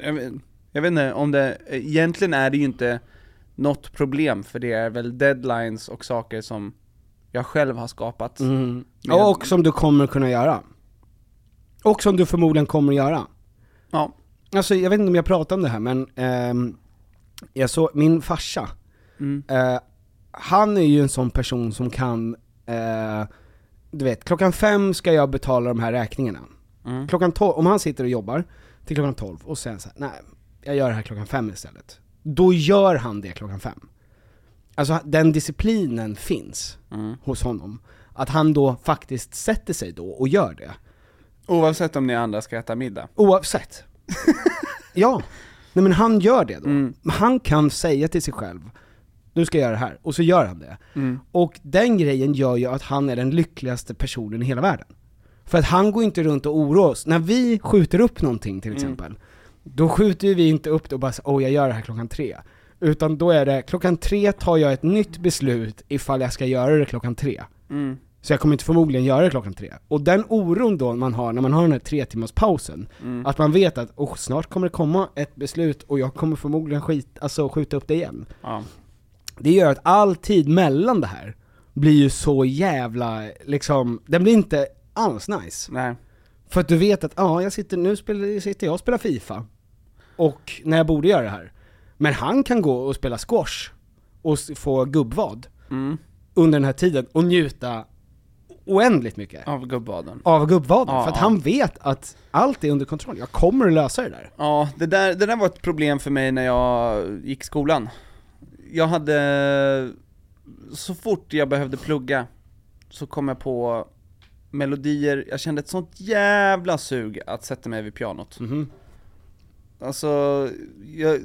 Jag, vet- jag vet inte om det, egentligen är det ju inte något problem, för det är väl deadlines och saker som jag själv har skapat.
Mm.
Men jag-
Och som du kommer kunna göra. Och som du förmodligen kommer göra.
Ja.
Alltså jag vet inte om jag pratade om det här men, ehm, jag såg, min farsa,
Mm.
eh, han är ju en sån person som kan, eh, du vet, klockan fem ska jag betala de här räkningarna.
Mm.
Klockan tolv, om han sitter och jobbar till klockan tolv och sen så här, nej, jag gör det här klockan fem istället. Då gör han det klockan fem. Alltså den disciplinen finns
Mm.
hos honom. Att han då faktiskt sätter sig då och gör det.
Oavsett om ni andra ska äta middag.
Oavsett. ja. Nej men han gör det då. Men Han kan säga till sig själv, du ska göra det här, och så gör han det. Och den grejen gör ju att han är den lyckligaste personen i hela världen. För att han går inte runt och oroar oss. När vi skjuter upp någonting till exempel, då skjuter ju vi inte upp det och bara så, åh jag gör det här klockan tre. Utan då är det, klockan tre tar jag ett nytt beslut ifall jag ska göra det klockan tre. Så jag kommer inte förmodligen göra det klockan tre. Och den oron då man har när man har den här tre timmars pausen, att man vet att oh, snart kommer det komma ett beslut och jag kommer förmodligen skit, alltså, skjuta upp det igen.
Ja.
Det gör att all tid mellan det här blir ju så jävla, liksom, den blir inte alls nice.
Nej.
För att du vet att, ja, jag sitter, nu spelar, sitter jag och spelar FIFA. Och när jag borde göra det här. Men han kan gå och spela squash och s- få gubbvad
Mm.
under den här tiden och njuta oändligt mycket
Av gubbvaden.
av gubbvaden.
Ja,
för att
ja.
han vet att allt är under kontroll. Jag kommer att lösa det där.
Ja, det där, det där var ett problem för mig när jag gick i skolan. Jag hade, så fort jag behövde plugga, så kom jag på melodier, jag kände ett sånt jävla sug att sätta mig vid pianot. Alltså, jag,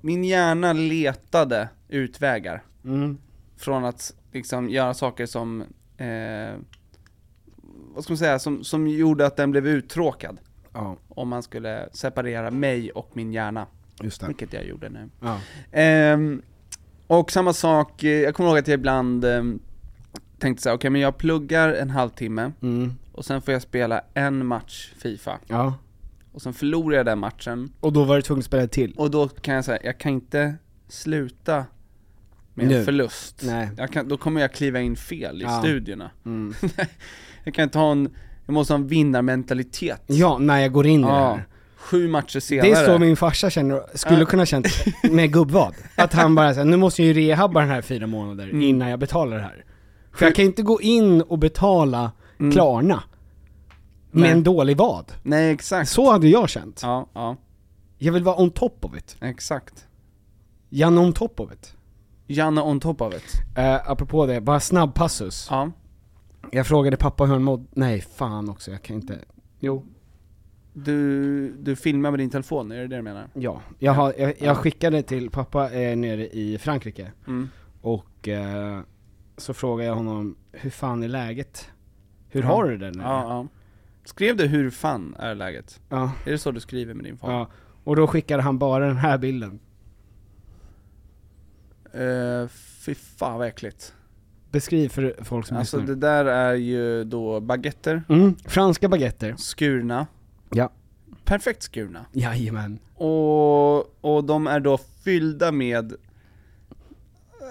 min hjärna letade utvägar.
Mm.
Från att liksom göra saker som, eh, vad ska man säga, som, som gjorde att den blev uttråkad.
Ja.
Om man skulle separera mig och min hjärna.
Just det.
Vilket jag gjorde nu.
Ja.
Ehm, och samma sak, eh, jag kommer ihåg att jag ibland ehm, tänkte så här, okej men jag pluggar en halvtimme,
Mm.
och sen får jag spela en match FIFA.
Ja.
Och sen förlorar jag den matchen,
Och då var du tvungen att spela till.
och då kan jag säga, jag kan inte sluta med
Nu.
en förlust.
Nej.
Jag kan, då kommer jag kliva in fel i
Ja.
studierna.
Mm.
jag kan inte ha en, jag måste ha en vinnarmentalitet.
Ja, när jag går in i det här.
Sju matcher senare.
Det är så min farsa känner, skulle
Ja.
kunna känt med gubbvad. Att han bara säger nu måste jag ju rehabba den här fyra månader
Mm.
innan jag betalar det här. För jag kan inte gå in och betala Klarna med
Mm. Nej.
en dålig vad.
Nej exakt.
Så hade jag känt.
Ja, ja,
Jag vill vara on top of it.
exakt.
Janne on top of it.
Janne on top of it.
Eh, apropå det, bara snabb passus.
Ja.
Jag frågade pappa hur han mådde, nej fan också, jag kan inte. Jo.
Du, du filmar med din telefon, är det det du menar?
Ja, jag, har, jag, jag skickade till pappa eh, nere i Frankrike.
Mm.
Och eh, så frågade jag honom, hur fan är läget? Hur
Ja.
har du det nu?
Ja, ja. Skrev du 'Hur fan är läget?'
Ja,
Är det så du skriver med din far?
ja. Och då skickade han bara den här bilden.
Eh, fy fan vad äckligt.
Beskriv för folk som
Alltså det
lyssnar.
där är ju då baguetter,
Mm, franska baguetter.
skurna,
Ja.
perfekt skurna.
Jajamän.
Och, och de är då fyllda med,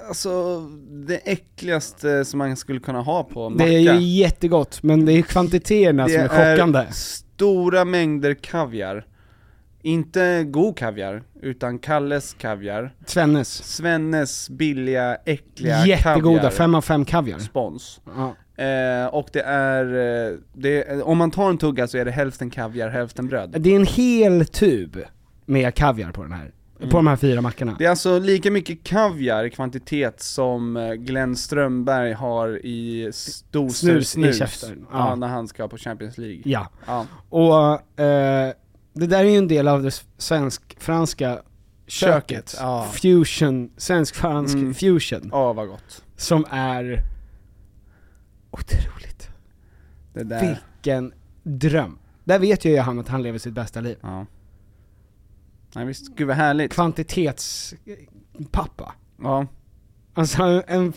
alltså det äckligaste som man skulle kunna ha på en macka.
Det är ju jättegott, men det är kvantiteterna som är chockande.
stora mängder kaviar. Inte god kaviar, utan Kalles kaviar.
Svennes.
Svennes billiga, äckliga
Jättegoda,
kaviar.
fem av fem kaviar.
Spons.
Ja.
Eh, och det är, eh, det är, om man tar en tugga så är det hälften kaviar, hälften bröd.
Det är en hel tub med kaviar på den här. På de här fyra mackorna.
Mm. Det är alltså lika mycket kaviar i kvantitet som eh, Glenn Strömberg har i stor
Snus i
snus,
käften.
Ja.
Ja.
när han ska på Champions League.
Ja.
Ja.
Och eh, det där är ju en del av det s- svensk-franska köket.
Köket, ja.
Fusion, svensk-fransk
Mm.
fusion.
Ja, vad gott.
Som är otroligt.
Det där.
Vilken dröm. Där vet ju han att han lever sitt bästa liv.
Ja. Nej visst, gud vad härligt.
Kvantitetspappa.
Ja.
Alltså en... en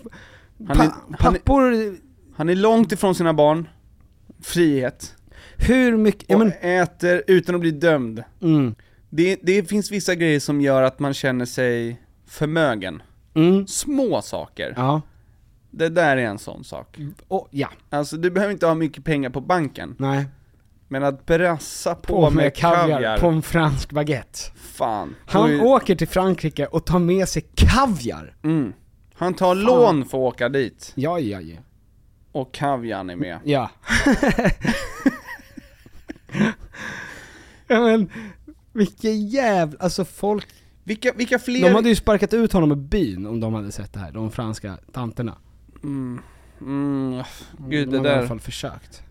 Han är-
pa,
han är-
pappor,
Han är långt ifrån sina barn, frihet,
hur mycket...
och
Ja, men,
äter utan att bli dömd.
mm,
Det, det finns vissa grejer som gör att man känner sig förmögen.
mm,
Små saker.
ja. Mm.
Det där är en sån sak.
Och, ja,
Alltså du behöver inte ha mycket pengar på banken,
nej.
men att brassa på,
På
med kaviar,
på en fransk baguette.
fan.
Han
Då är-
åker till Frankrike och tar med sig kaviar!
mm. Han tar lån för att åka dit,
Ja, ja, ja.
och kaviarn är med.
Ja. ja men, vilken jävla, alltså folk,
Vilka, vilka fler...
de hade ju sparkat ut honom ur byn om de hade sett det här, de franska tanterna.
mm. Mm. Gud
de
det
hade i alla
där
fall försökt.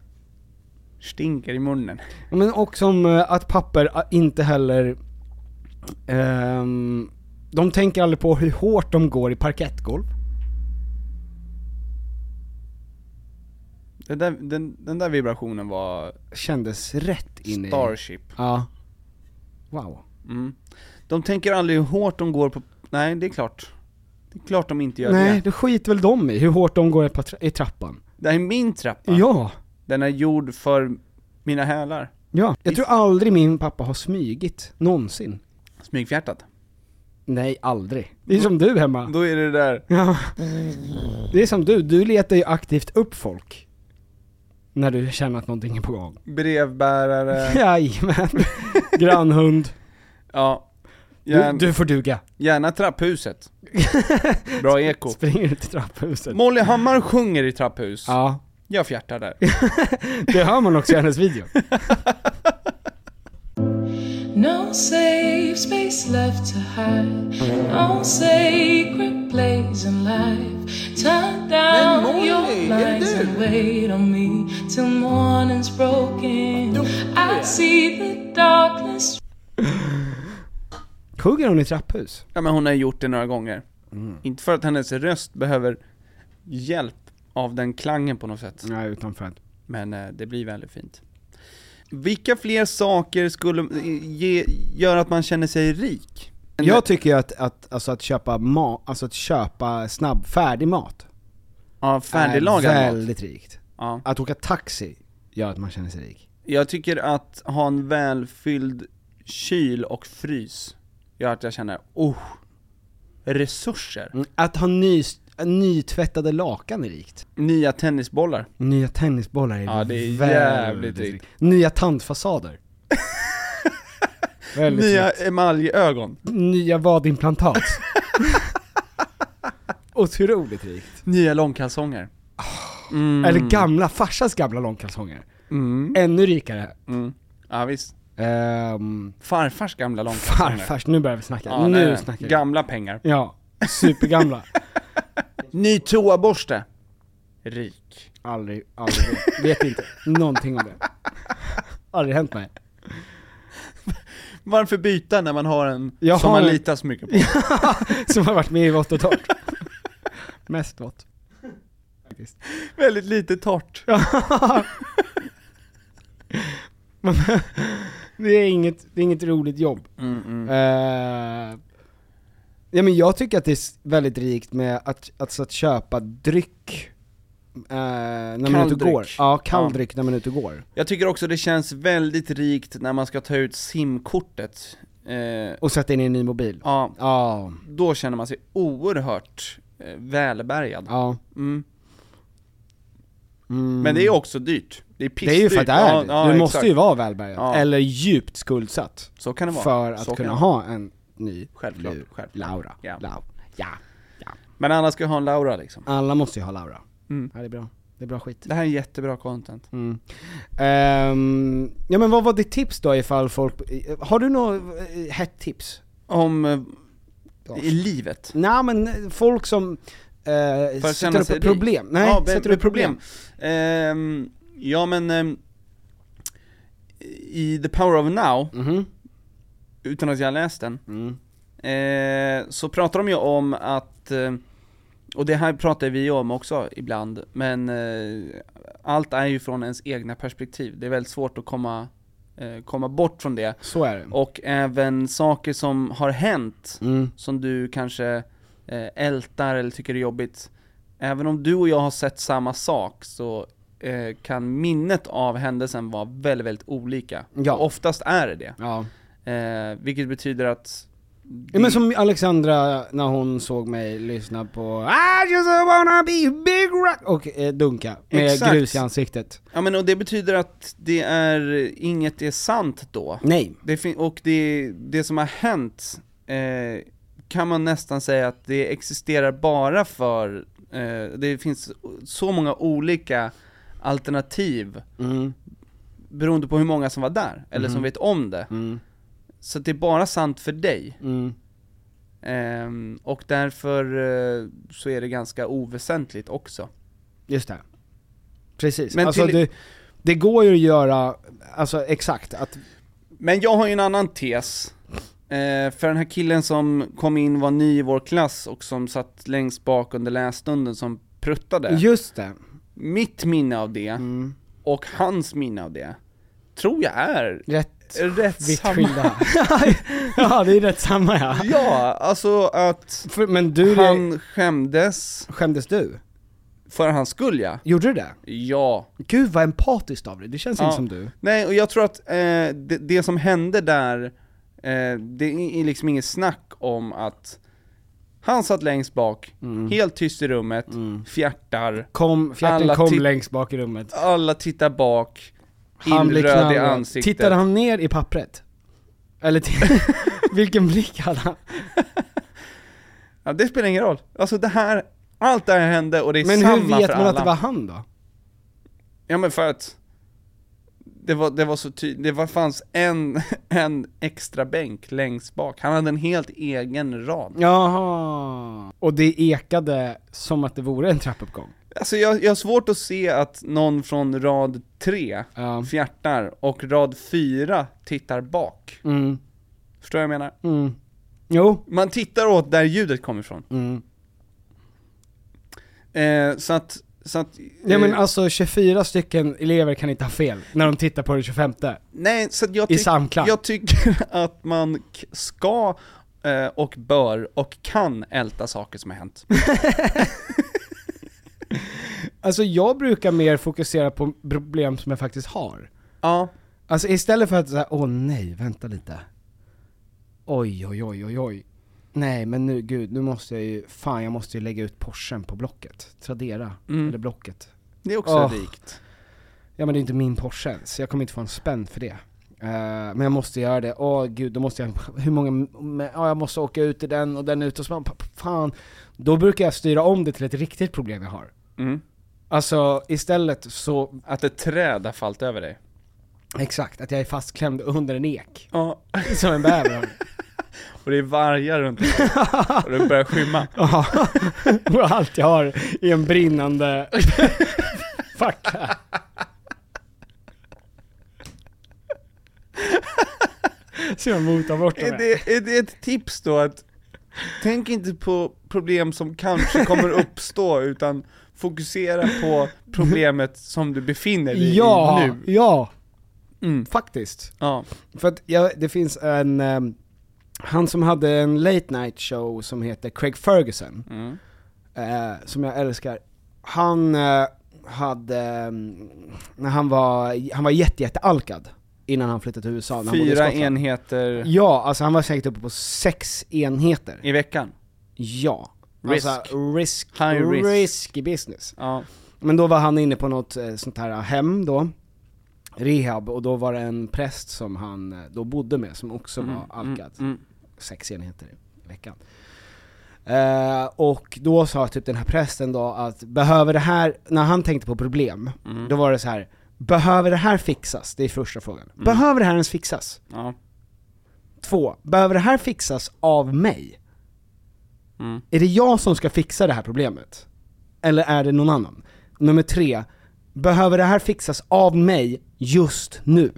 stinker i munnen.
Ja, Men och som eh, att papper eh, inte heller, ehm, de tänker aldrig på hur hårt de går i parkettgolv.
Det där, den, den där vibrationen var
Kändes rätt in i...
Starship.
Ja. Wow.
Mm. De tänker aldrig hur hårt de går på... Nej, det är klart. Det är klart de inte gör
Nej,
det.
det skiter väl de i, hur hårt de går i pa- i trappan.
Det här är min trappa.
Ja.
Den är gjord för mina hälar.
Ja. Jag
Visst.
tror aldrig min pappa har smygit, någonsin.
Smygfjärtat.
Nej, aldrig. Det är som du hemma.
Då är det där.
Ja. Det är som du, du letar ju aktivt upp folk. När du känner att någonting är på gång.
Brevbärare.
Jajamän. Grannhund.
Ja.
Du, du får duga.
Gärna trapphuset. Bra eko.
Springer ut i trapphuset.
Molly Hammar sjunger i trapphus.
Ja.
Jag fjärtar där.
Det hör man också i hennes video.
No safe space left to hide. No sacred place in life. Turn down
Morley,
your blinds
är det
and wait on me till morning's broken. I see the darkness
Sjunger hon i trapphus?
Ja men hon har gjort det några gånger. Inte för att hennes röst behöver hjälp av den klangen på något sätt.
Nej, utan för att...
Men eh, det blir väldigt fint. Vilka fler saker skulle eh, ge, göra att man känner sig rik?
Jag tycker ju att, att, alltså att köpa ma, alltså att köpa snabb, färdig mat.
Ja, färdiglagad
är
mat.
väldigt rikt.
Ja.
Att åka taxi gör att man känner sig rik.
Jag tycker att ha en välfylld kyl och frys gör att jag känner, oh, resurser.
Att ha ny, nytvättade lakan är rikt.
Nya tennisbollar.
Nya tennisbollar är,
Ja, det är
väldigt
jävligt rikt.
Nya tandfasader. väldigt
Nya
rikt.
emaljögon.
Nya vadimplantat. Otroligt rikt.
Nya långkalsonger. Mm.
Eller gamla, farsas gamla långkalsonger. Ännu rikare.
Mm. Ja visst.
Ehm,
Farfars gamla långkalsonger.
farfars, nu börjar vi snacka.
Ja,
nu
nej, nej.
snackar vi.
Gamla pengar.
Ja, supergamla.
Ny toaborste. Rik.
Aldrig, aldrig, vet- vet inte någonting om det. Aldrig hänt mig.
Varför byta när man har en
Jag
som
har
man
en-
litar så mycket på?
Som har varit med i vått och torrt. Mest vått. Faktiskt.
Väldigt lite torrt.
Men det, är inget, det är inget roligt jobb. mm. Eh, ja men jag tycker att det är s- väldigt rikt med att, alltså att köpa dryck eh, när man är
Kall
ute och
dryck.
går. Ja, kall
Ja.
dryck när man är ute och går.
Jag tycker också det känns väldigt rikt när man ska ta ut simkortet. Eh,
Och sätta in i en ny mobil.
ja,
Ja,
då känner man sig oerhört eh, välbärgad.
ja.
Mm.
Mm.
Men det är också dyrt. Det är
Det är ju för att det är det. Du måste
exakt.
ju vara välbärgad,
Ja.
eller djupt skuldsatt.
Så kan det vara.
För att
Så kan
kunna
det
ha en ny
Självklart,
lur.
självklart.
Laura.
Ja.
Lau. Ja.
Men alla ska ha en Laura liksom.
Alla måste ju ha Laura.
Mm.
Ja, det är bra. Det är bra skit.
Det här är jättebra content.
Mm. Ehm, ja men vad var ditt tips då ifall folk, har du något eh, hett tips?
Om eh,
Ja.
i livet.
Nej men folk som eh,
För att
sätter
känna
upp
sig
ett problem. Nej,
ja, be-
sätter upp problem.
problem. Ehm, ja men, ehm, i The Power of Now,
Mhm.
utan att jag har läst den,
Mm.
eh, så pratar de ju om att, eh, och det här pratar vi ju om också ibland, men eh, allt är ju från ens egna perspektiv. Det är väldigt svårt att komma, eh, komma bort från det.
Så är det.
Och även saker som har hänt,
Mm.
som du kanske eh, ältar eller tycker är jobbigt. Även om du och jag har sett samma sak så eh, kan minnet av händelsen vara väldigt, väldigt olika.
Ja.
Och Oftast är det det.
Ja.
Eh, vilket betyder att...
Ja, men som Alexandra när hon såg mig lyssna på I just wanna be a big rock och eh, dunka med
Exakt.
grus i ansiktet.
Ja men och det betyder att det är, inget är sant då.
Nej.
Det fin- och det, det som har hänt eh, kan man nästan säga att det existerar bara för, eh, det finns så många olika alternativ
Mm.
beroende på hur många som var där, eller som
Mhm.
vet om det.
Mm.
Så att det är bara sant för dig.
Mm.
Ehm, och därför eh, så är det ganska oväsentligt också.
Just det. Precis.
Men
alltså
till-
det, det går ju att göra, alltså exakt, att,
Men jag har ju en annan tes. Eh, för den här killen som kom in var ny i vår klass och som satt längst bak under lässtunden som pruttade.
just det.
Mitt minne av det,
Mm.
och hans minne av det, tror jag är
Rätt
rätt
vitt
samma.
skilda. ja, det är rätt samma ja.
Ja, alltså att
För, men du,
han skämdes
skämdes du?
för hans skull ja.
Gjorde du det?
Ja.
Gud vad empatiskt av dig, det känns
Ja.
inte som du.
Nej, och jag tror att eh, det, det som hände där, eh, det är liksom inget snack om att Han satt längst bak,
Mm.
helt tyst i rummet, fjärtar.
Kom, fjärten
Alla
kom
titt-
längst bak i rummet.
Alla tittar bak,
Han blir
illröd i
knallröd.
ansiktet.
Tittade han ner i pappret? Eller t- vilken blick hade han?
Ja, det spelar ingen roll. Alltså det här, allt det här hände och det är
Men
samma
hur vet
för
man att
alla.
det var han då?
Ja men för att det var, det var så tydligt, det var, fanns en, en extra bänk längst bak. Han hade en helt egen rad.
Jaha. Och det ekade som att det vore en trappuppgång.
Alltså jag, jag har svårt att se att någon från rad 3 fjärtar och rad 4 tittar bak.
Mm.
Förstår vad jag menar?
Mm. Jo.
Man tittar åt där ljudet kommer ifrån.
Mm.
Eh, så att, så att...
Ja
eh,
men alltså 24 stycken elever kan inte ha fel när de tittar på det 25
Nej, så att jag,
I
tyck-
samklang.
jag tycker att man k- ska eh, och bör och kan älta saker som har hänt.
Alltså jag brukar mer fokusera på problem som jag faktiskt har.
Ja.
Alltså istället för att säga åh nej, vänta lite. Oj, oj, oj, oj, oj. Nej men nu, gud, nu måste jag ju, fan jag måste ju lägga ut Porschen på Blocket. Tradera,
Mm.
eller Blocket.
Det är också
Åh.
rikt.
Ja men det är inte min Porsche ens, jag kommer inte få en spänn för det. Eh, men jag måste göra det, åh gud, då måste jag, hur många, men, ja jag måste åka ut i den och den ut och så, bara, p- p- fan. Då brukar jag styra om det till ett riktigt problem jag har.
Mm.
Alltså istället så,
Att ett träd har fallit över dig.
exakt, att jag är fastklämd under en ek.
Ja.
Som en bäver.
Och det är vargar runt dig. Och du börjar skymma.
Ja, och allt jag har är en brinnande facka. Så jag motar bort dem
Är
här.
det, är det ett tips då att, tänk inte på problem som kanske kommer uppstå, utan fokusera på problemet som du befinner dig
Ja,
i nu.
ja,
Mm.
faktiskt.
Ja.
För att jag, det finns en, ehm, han som hade en late night show som heter Craig Ferguson,
Mm.
eh, som jag älskar. Han eh, hade, ehm, när han var, han var jätte, jätte alkad innan han flyttade till USA. När han bodde i
Fyra
Skottland.
enheter
Ja, alltså han var säkert uppe på sex enheter.
i veckan.
Ja.
Risk.
Alltså, risk,
High risk.
risky business.
Ja.
Men då var han inne på något eh, sånt här hem då, rehab, och då var det en präst som han eh, då bodde med som också var alkad. Sex enheter i veckan. Eh, och då sa typ den här prästen då att, behöver det här, när han tänkte på problem, då var det så här behöver det här fixas? Det är första frågan. Behöver det här ens fixas?
Ja.
Två, behöver det här fixas av mig?
Mm.
Är det jag som ska fixa det här problemet? Eller är det någon annan? Nummer tre, behöver det här fixas av mig just nu?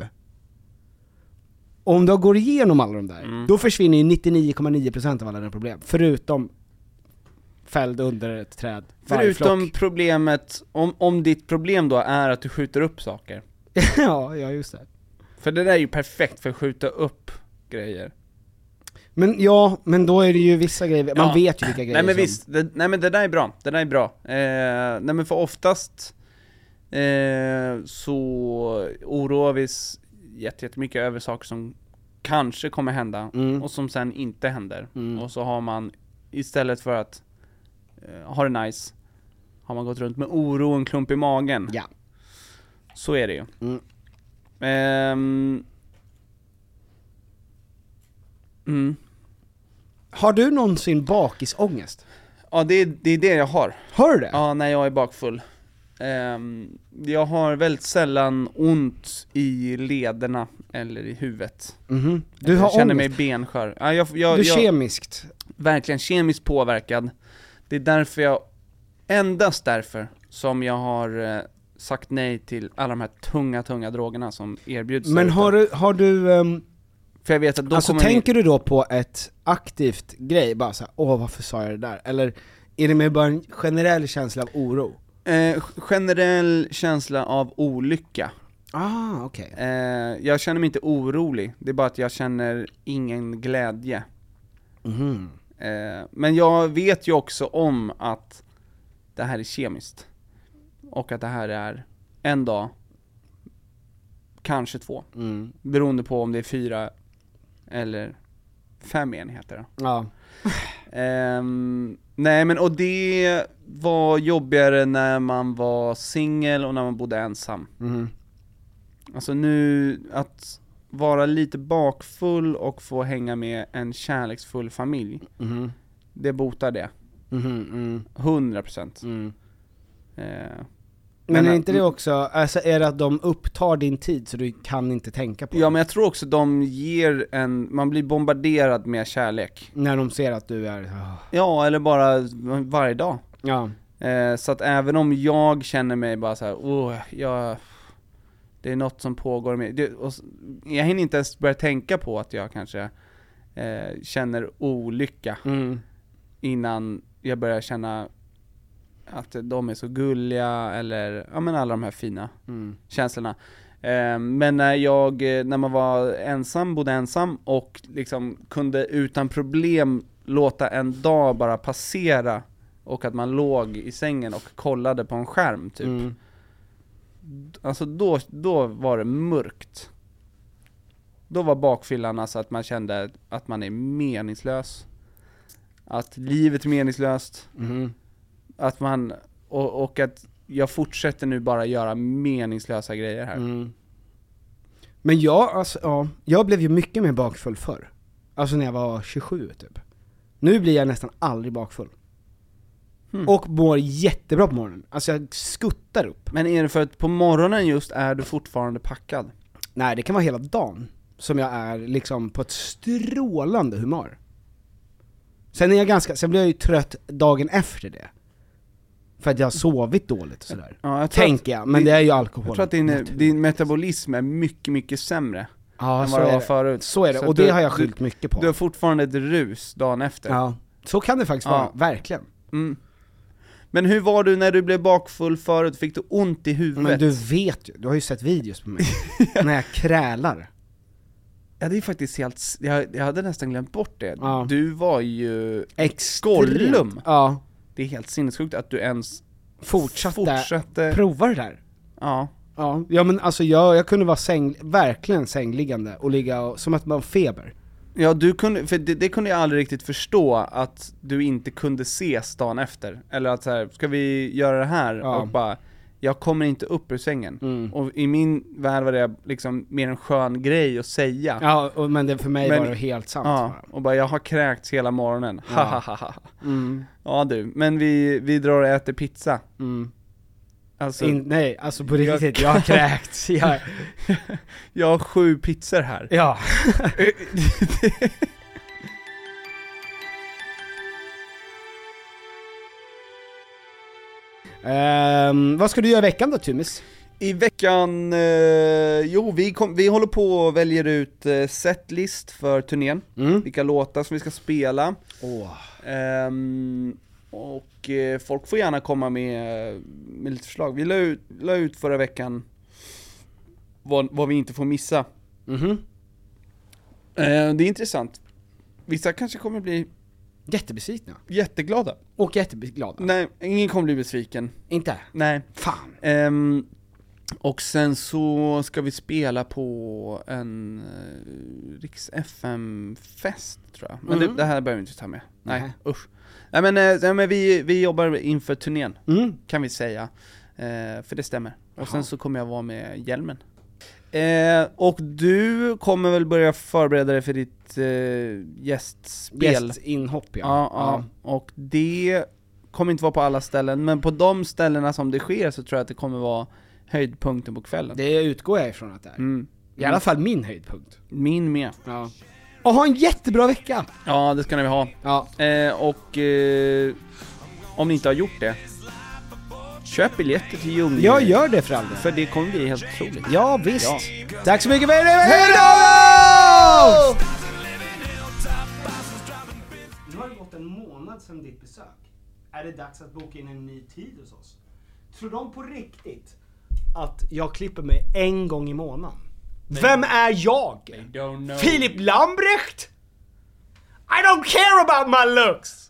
Och om du går igenom alla de där,
Mm.
då försvinner ju 99,9% av alla dina problem. Förutom fälld under ett träd,
Förutom
vargflock.
problemet, om, om ditt problem då är att du skjuter upp saker.
ja, ja just det.
För det där är ju perfekt för att skjuta upp grejer.
Men ja, men då är det ju vissa grejer, man
Ja.
vet ju vilka grejer
Nej men
som-
visst, det, nej men det där är bra, det där är bra. Eh, nej men för oftast eh, så oroar vi oss jätte- jättemycket över saker som kanske kommer hända
Mm.
och som sen inte händer. Och så har man, istället för att eh, ha det nice, har man gått runt med oro och en klump i magen.
Ja.
Så är det ju.
Mm.
Ehm. mm.
Har du någonsin bakisångest?
Ja det är, det är det jag har.
Har du det?
Ja, när jag är bakfull. Ehm, jag har väldigt sällan ont i lederna eller i huvudet.
Mhm. Du
jag
har
känner
ångest?
mig benskör. Ja, jag, jag,
du är
jag,
kemiskt?
verkligen kemiskt påverkad. Det är därför jag, endast därför, som jag har eh, sagt nej till alla de här tunga, tunga drogerna som erbjuds.
Men
där
har
ute.
du, har du ehm,
För jag vet att då
alltså
kommer
tänker du då på ett aktivt grej, bara såhär, åh varför sa jag det där? Eller är det mer bara en generell känsla av oro?
min, eh, generell känsla av olycka.
Ah, okej.
Eh, jag känner mig inte orolig, det är bara att jag känner ingen glädje.
Mhm.
Eh, men jag vet ju också om att det här är kemiskt. Och att det här är en dag, kanske två.
Mm.
Beroende på om det är fyra eller fem enheter.
Ja.
Eh, Ehm, nej men och det var jobbigare när man var singel och när man bodde ensam.
Mhm.
Alltså nu, att vara lite bakfull och få hänga med en kärleksfull familj,
Mhm.
det botar det.
mm.
Hundra procent. Eh,
Men är inte det också, alltså är det att de upptar din tid så du kan inte tänka på det?
Ja men jag tror också de ger en, man blir bombarderad med kärlek.
När de ser att du är... ah.
Ja, eller bara varje dag.
Ja.
Eh, så att även om jag känner mig bara så här, oh, jag, det är något som pågår med det, och, s- Jag hinner inte ens börja tänka på att jag kanske eh, känner olycka innan jag börjar känna att de är så gulliga eller, ja men alla de här fina
Mm.
känslorna. Eh, Men när jag, eh, när man var ensam, bodde ensam och liksom kunde utan problem låta en dag bara passera och att man låg i sängen och kollade på en skärm typ. Alltså då, då var det mörkt. Då var bakfyllan alltså att man kände att man är meningslös. Att livet är meningslöst. Att man, och, och att jag fortsätter nu bara göra meningslösa grejer här.
Mm. Men jag, alltså, ja, jag blev ju mycket mer bakfull förr. Alltså när jag var 27 typ. Nu blir jag nästan aldrig bakfull.
Hmm.
Och mår jättebra på morgonen. Alltså jag skuttar upp.
Men är det för att på morgonen just är du fortfarande packad?
Nej, det kan vara hela dagen som jag är liksom på ett strålande humör. Sen är jag ganska, sen blir jag ju trött dagen efter det. För att jag har sovit dåligt och sådär.
Ja, jag tror
Tänker
att
jag, men
din-
det är ju alkohol.
Jag tror att din, din metabolism är mycket, mycket sämre
Ja,
än
så
vad det
är
var
det.
förut.
Så är det,
Så
och
du-
det har jag
du-
skyllt mycket på.
Du har fortfarande ett rus dagen efter.
Ja, så kan det faktiskt
Ja.
vara, verkligen.
Mm. Men hur var du när du blev bakfull förut? Fick du ont i huvudet?
Men du vet ju, du har ju sett videos på mig. när jag krälar.
Ja det är faktiskt helt, s- jag, jag hade nästan glömt bort det.
Ja.
Du var ju
Extremt.
Gollum!
Ja.
Det är helt sinnessjukt att du ens
Fortsatte,
fortsatte
prova det där.
Ja.
Ja, ja men alltså jag, jag kunde vara säng, verkligen sängliggande och ligga och, som att man har feber.
Ja du kunde, för det, det kunde jag aldrig riktigt förstå att du inte kunde ses dagen efter. Eller att så här, ska vi göra det här?
Ja. Mm.
Och bara, jag kommer inte upp ur sängen. Och i min värld var det liksom mer en skön grej att säga.
Ja, och, men det, för mig
Men-
var det helt sant.
Ja, och bara jag har kräkts hela morgonen,
Ja.
ha ha ha ha.
Mm.
Ja du, men vi, vi drar och äter pizza.
Mm.
Alltså,
In, nej, alltså på riktigt, jag har kräkts. Jag,
jag har sju pizzor här.
ja. Ehm, vad ska du göra i veckan då Tumis?
I veckan, eh, jo vi, kom, vi håller på och väljer ut eh, setlist för turnén, vilka låtar som vi ska spela.
Åh.
Ehm, och eh, folk får gärna komma med, med lite förslag. Vi la ut, la ut förra veckan vad, vad vi inte får missa.
Mm-hmm.
Eh, det är intressant. Vissa kanske kommer bli
Jättebesvikna.
jätteglada.
Och jätteglada.
Nej, ingen kommer bli besviken.
Inte?
Nej.
Fan.
Ehm, och sen så ska vi spela på en uh, Riks FM-fest tror jag. Men
Mhm.
det, det här behöver vi inte ta med. Nej,
Nej.
usch. Nej men, eh, nej, men vi, vi jobbar inför turnén,
Mm.
kan vi säga. Eh, för det stämmer. Och
Jaha.
sen så kommer jag vara med Hjälmen. Eh, och du kommer väl börja förbereda dig för ditt eh, gästspel?
Gästinhopp ja.
Ja, ja. och det kommer inte vara på alla ställen, men på de ställena som det sker så tror jag att det kommer vara höjdpunkten på kvällen.
Det utgår jag ifrån att det är.
Mm.
I alla fall min höjdpunkt.
Min med.
Ja. Och ha en jättebra vecka!
Ja, det ska ni ha.
Ja.
Eh, och eh, om ni inte har gjort det, köp biljetter till Ljungby.
Jag gör det för all del.
För det kommer bli helt otroligt.
Ja, visst.
Ja.
Tack så mycket för det. Hej då! Nu har det gått en månad sedan ditt besök. Är det dags att boka in en ny tid hos oss? Tror de på riktigt att jag klipper mig en gång i månaden? Vem är jag? Filip Lambrecht? I don't care about my looks!